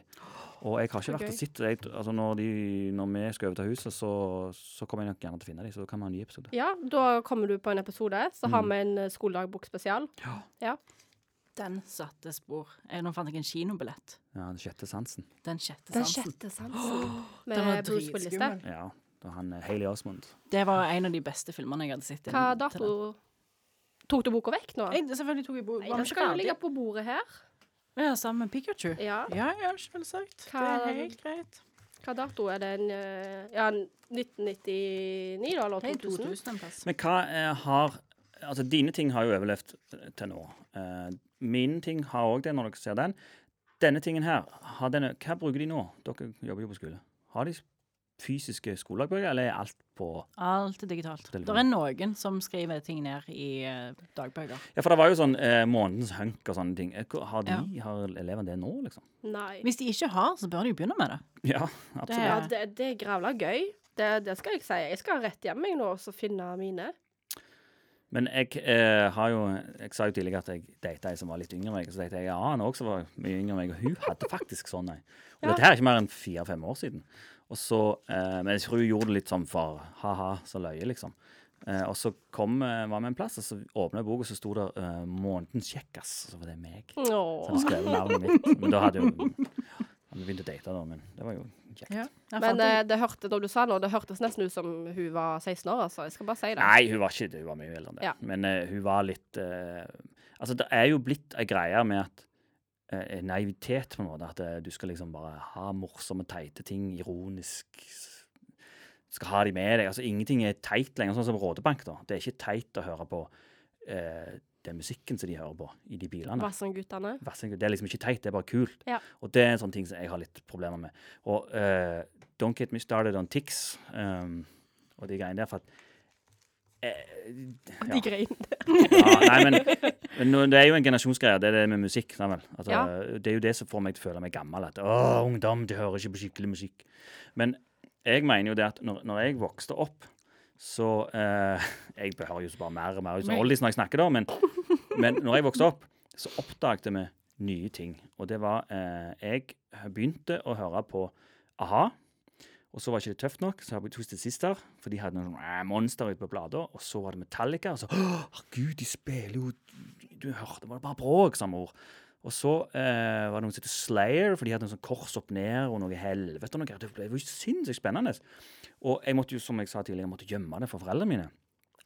Speaker 4: Og jeg har ikke vært og sett jeg- altså når, de- når vi skal overta huset, så, så kommer jeg nok gjerne til å finne dem. Så da kan vi ha en ny episode.
Speaker 5: ja, da kommer du på en episode. Så
Speaker 4: Mm.
Speaker 5: har vi en eh, skoledagbok spesial. Ja.
Speaker 3: Den satte spor. Eh, Nå fant jeg en kinobillett.
Speaker 4: Ja, Den sjette sansen.
Speaker 3: Den sjette
Speaker 5: Den
Speaker 3: sansen.
Speaker 5: sjette sansen.
Speaker 3: Den var
Speaker 5: Med Bruce Willis der.
Speaker 3: dritskummel.
Speaker 4: Ja, da han eh, Hayley Osmond.
Speaker 3: Det var en av de beste filmene jeg hadde sett.
Speaker 5: Hva
Speaker 3: inn til
Speaker 5: dato
Speaker 3: den.
Speaker 5: Tok du boka vekk nå?
Speaker 3: Jeg, selvfølgelig tok jeg bok.
Speaker 5: Nei, den skal jo ligge på bordet her.
Speaker 3: Ja, sammen med Pikachu.
Speaker 5: Ja.
Speaker 3: Ja, ja, selvsagt. Det
Speaker 5: Hva-
Speaker 3: er helt greit.
Speaker 5: Hva dato er den? eh, Ja, 1999, da? Eller 2000?
Speaker 3: en plass.
Speaker 4: Men hva eh, har Altså, dine ting har jo overlevd eh, til nå. Eh, mine ting har òg det, når dere ser den. Denne tingen her, har denne, hva bruker de nå? Dere jobber jo på skole. Har de fysiske skoledagbøker, eller er alt på
Speaker 3: Alt er digitalt.
Speaker 4: Telefon.
Speaker 3: Det er noen som skriver ting ned i eh, dagbøker.
Speaker 4: Ja, for det var jo sånn eh, månedens hunk og sånne ting. Eh, hvor- Har, de,
Speaker 3: Ja.
Speaker 4: har elevene det nå, liksom?
Speaker 5: Nei.
Speaker 3: Hvis de ikke har, så bør de jo begynne med det.
Speaker 4: Ja,
Speaker 3: Det
Speaker 4: absolutt.
Speaker 3: er,
Speaker 5: Ja, det, det er grævla gøy. Det, det skal jeg si. Jeg skal rett hjem jeg nå og så finne mine.
Speaker 4: Men jeg eh, har jo Jeg sa jo tidligere at jeg data ei som var litt yngre enn meg. Så data jeg en annen også som var mye yngre enn meg, og hun hadde faktisk sånn ei. Og dette her er ikke mer enn fire-fem år siden. Og så, eh, Men jeg tror hun gjorde det litt sånn for ha-ha, så løye, liksom. Eh, og så kom, eh, var vi en plass, og så åpna jeg boka, og så sto det eh, 'Månedens kjekkas'. Så var det meg. Så
Speaker 5: Åh.
Speaker 4: hadde skrevet navnet mitt. Men da hadde jo Hadde begynt å date, da, men det var jo kjekt.
Speaker 3: ja. Jeg
Speaker 5: Men
Speaker 3: fant en-
Speaker 5: eh, det hørte, da du sa nå, det hørtes nesten ut som hun var 16 år, altså. Jeg skal bare si det.
Speaker 4: Nei, hun var ikke det. Hun var mye eldre enn det.
Speaker 5: Ja.
Speaker 4: Men eh, hun var litt eh, Altså, det er jo blitt ei greie med at eh, en naivitet, på en måte. At eh, du skal liksom bare ha morsomme, teite ting, ironisk s- Skal ha de med deg. Altså, ingenting er teit lenger, sånn som Rådebank, da. Det er ikke teit å høre på eh, den musikken som de hører på i de bilene.
Speaker 5: Vassendguttene.
Speaker 4: Vassing, det er liksom ikke teit, det er bare kult.
Speaker 5: Ja.
Speaker 4: Og det er en sånn ting som jeg har litt problemer med. Og eh, Don't Get Me Started On Tix ehm, og de greiene der, for at eh, ja. ja,
Speaker 5: greiene.
Speaker 4: Nei, men, men nå- det er jo en generasjonsgreie, det er det med musikk. sant vel? Altså,
Speaker 5: Ja.
Speaker 4: Det er jo det som får meg til å føle meg gammel. At å, ungdom, de hører ikke på skikkelig musikk. Men jeg mener jo det at når, når jeg vokste opp, så eh, Jeg behøver jo så bare mer og mer ut som Oldis når jeg snakker, da, men, men når jeg vokste opp, så oppdaget vi nye ting. Og det var eh, Jeg begynte å høre på a-ha. Og så var ikke det tøft nok, så hadde vi Twisted Sister, for de hadde noen sånne, eh, monster ute på plata. Og så var det Metallica, og så Å, herregud, de spiller jo Du hørte, det var bare bråk, samme ord. Og så eh, var det noen som het Slayer, for de hadde en sånn kors opp ned og noe helvete. og noe. greier. Det ble jo sinnssykt spennende. Og jeg måtte jo, som jeg sa tidligere, jeg måtte gjemme det for foreldrene mine.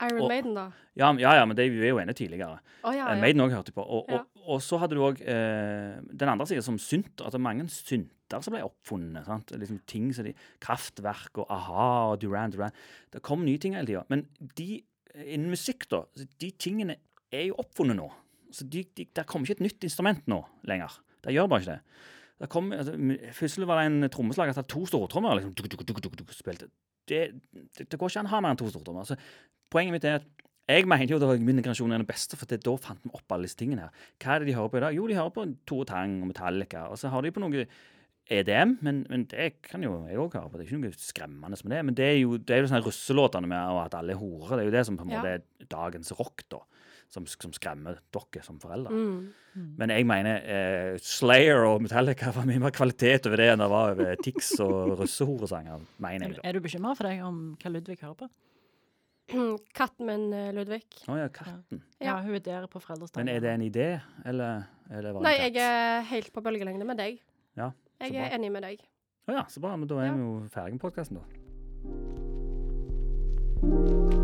Speaker 5: Iron
Speaker 4: Og-
Speaker 5: Maiden, da.
Speaker 4: Ja, men- ja, ja men det vi er jo enige tidligere.
Speaker 5: Å ja,
Speaker 4: Eh,
Speaker 5: ja.
Speaker 4: Maiden også hørte jeg på. Og,
Speaker 5: Ja.
Speaker 4: og, og så hadde du òg eh, den andre sida, som synt. At det er mange synter som ble oppfunnet. sant? Liksom ting som de, Kraftverk og a-ha og Duran Duran. Det kom nye ting hele tida. Men de, eh, innen musikk, da, så de tingene er jo oppfunnet nå. Så de, de, Der kommer ikke et nytt instrument nå lenger. Det gjør bare ikke det. Der kom, altså, m- Først var det en trommeslager som hadde to stortrommer. Liksom, tuk, tuk, tuk, tuk, tuk, spilte. Det, det, det går ikke an å ha mer enn to stortrommer. Så poenget mitt er at jeg mener jo at min generasjon er den beste, for det, da fant vi opp alle disse tingene her. Hva er det de hører på i dag? Jo, de hører på Tore Tang og Metallica, og så har de på noe EDM, men, men det kan jo jeg òg høre på. Det er ikke noe skremmende med det. Men det er jo, det er jo sånn her russelåtene med og at alle er horer. Det er jo det som på en
Speaker 5: Ja.
Speaker 4: måte er dagens rock, da. Som, som skremmer dere som foreldre.
Speaker 5: Mm.
Speaker 4: Men jeg mener eh, Slayer og Metallica var mye mer kvalitet over det enn det var over Tix og russehoresanger, mener jeg, da.
Speaker 3: Er du bekymra for deg om hva Ludvig hører på?
Speaker 5: Katten min, eh, Ludvig.
Speaker 4: Å ja, katten.
Speaker 5: Ja.
Speaker 3: Ja, hun er der på foreldrestanden.
Speaker 4: Men er det en idé, eller er det bare en
Speaker 5: Nei,
Speaker 4: katt?
Speaker 5: jeg er helt på bølgelengde med deg.
Speaker 4: Ja, så
Speaker 5: Jeg
Speaker 4: bra.
Speaker 5: er enig med deg.
Speaker 4: Å ja, så bra. Men da er
Speaker 5: Ja.
Speaker 4: vi jo ferdig med podkasten, da.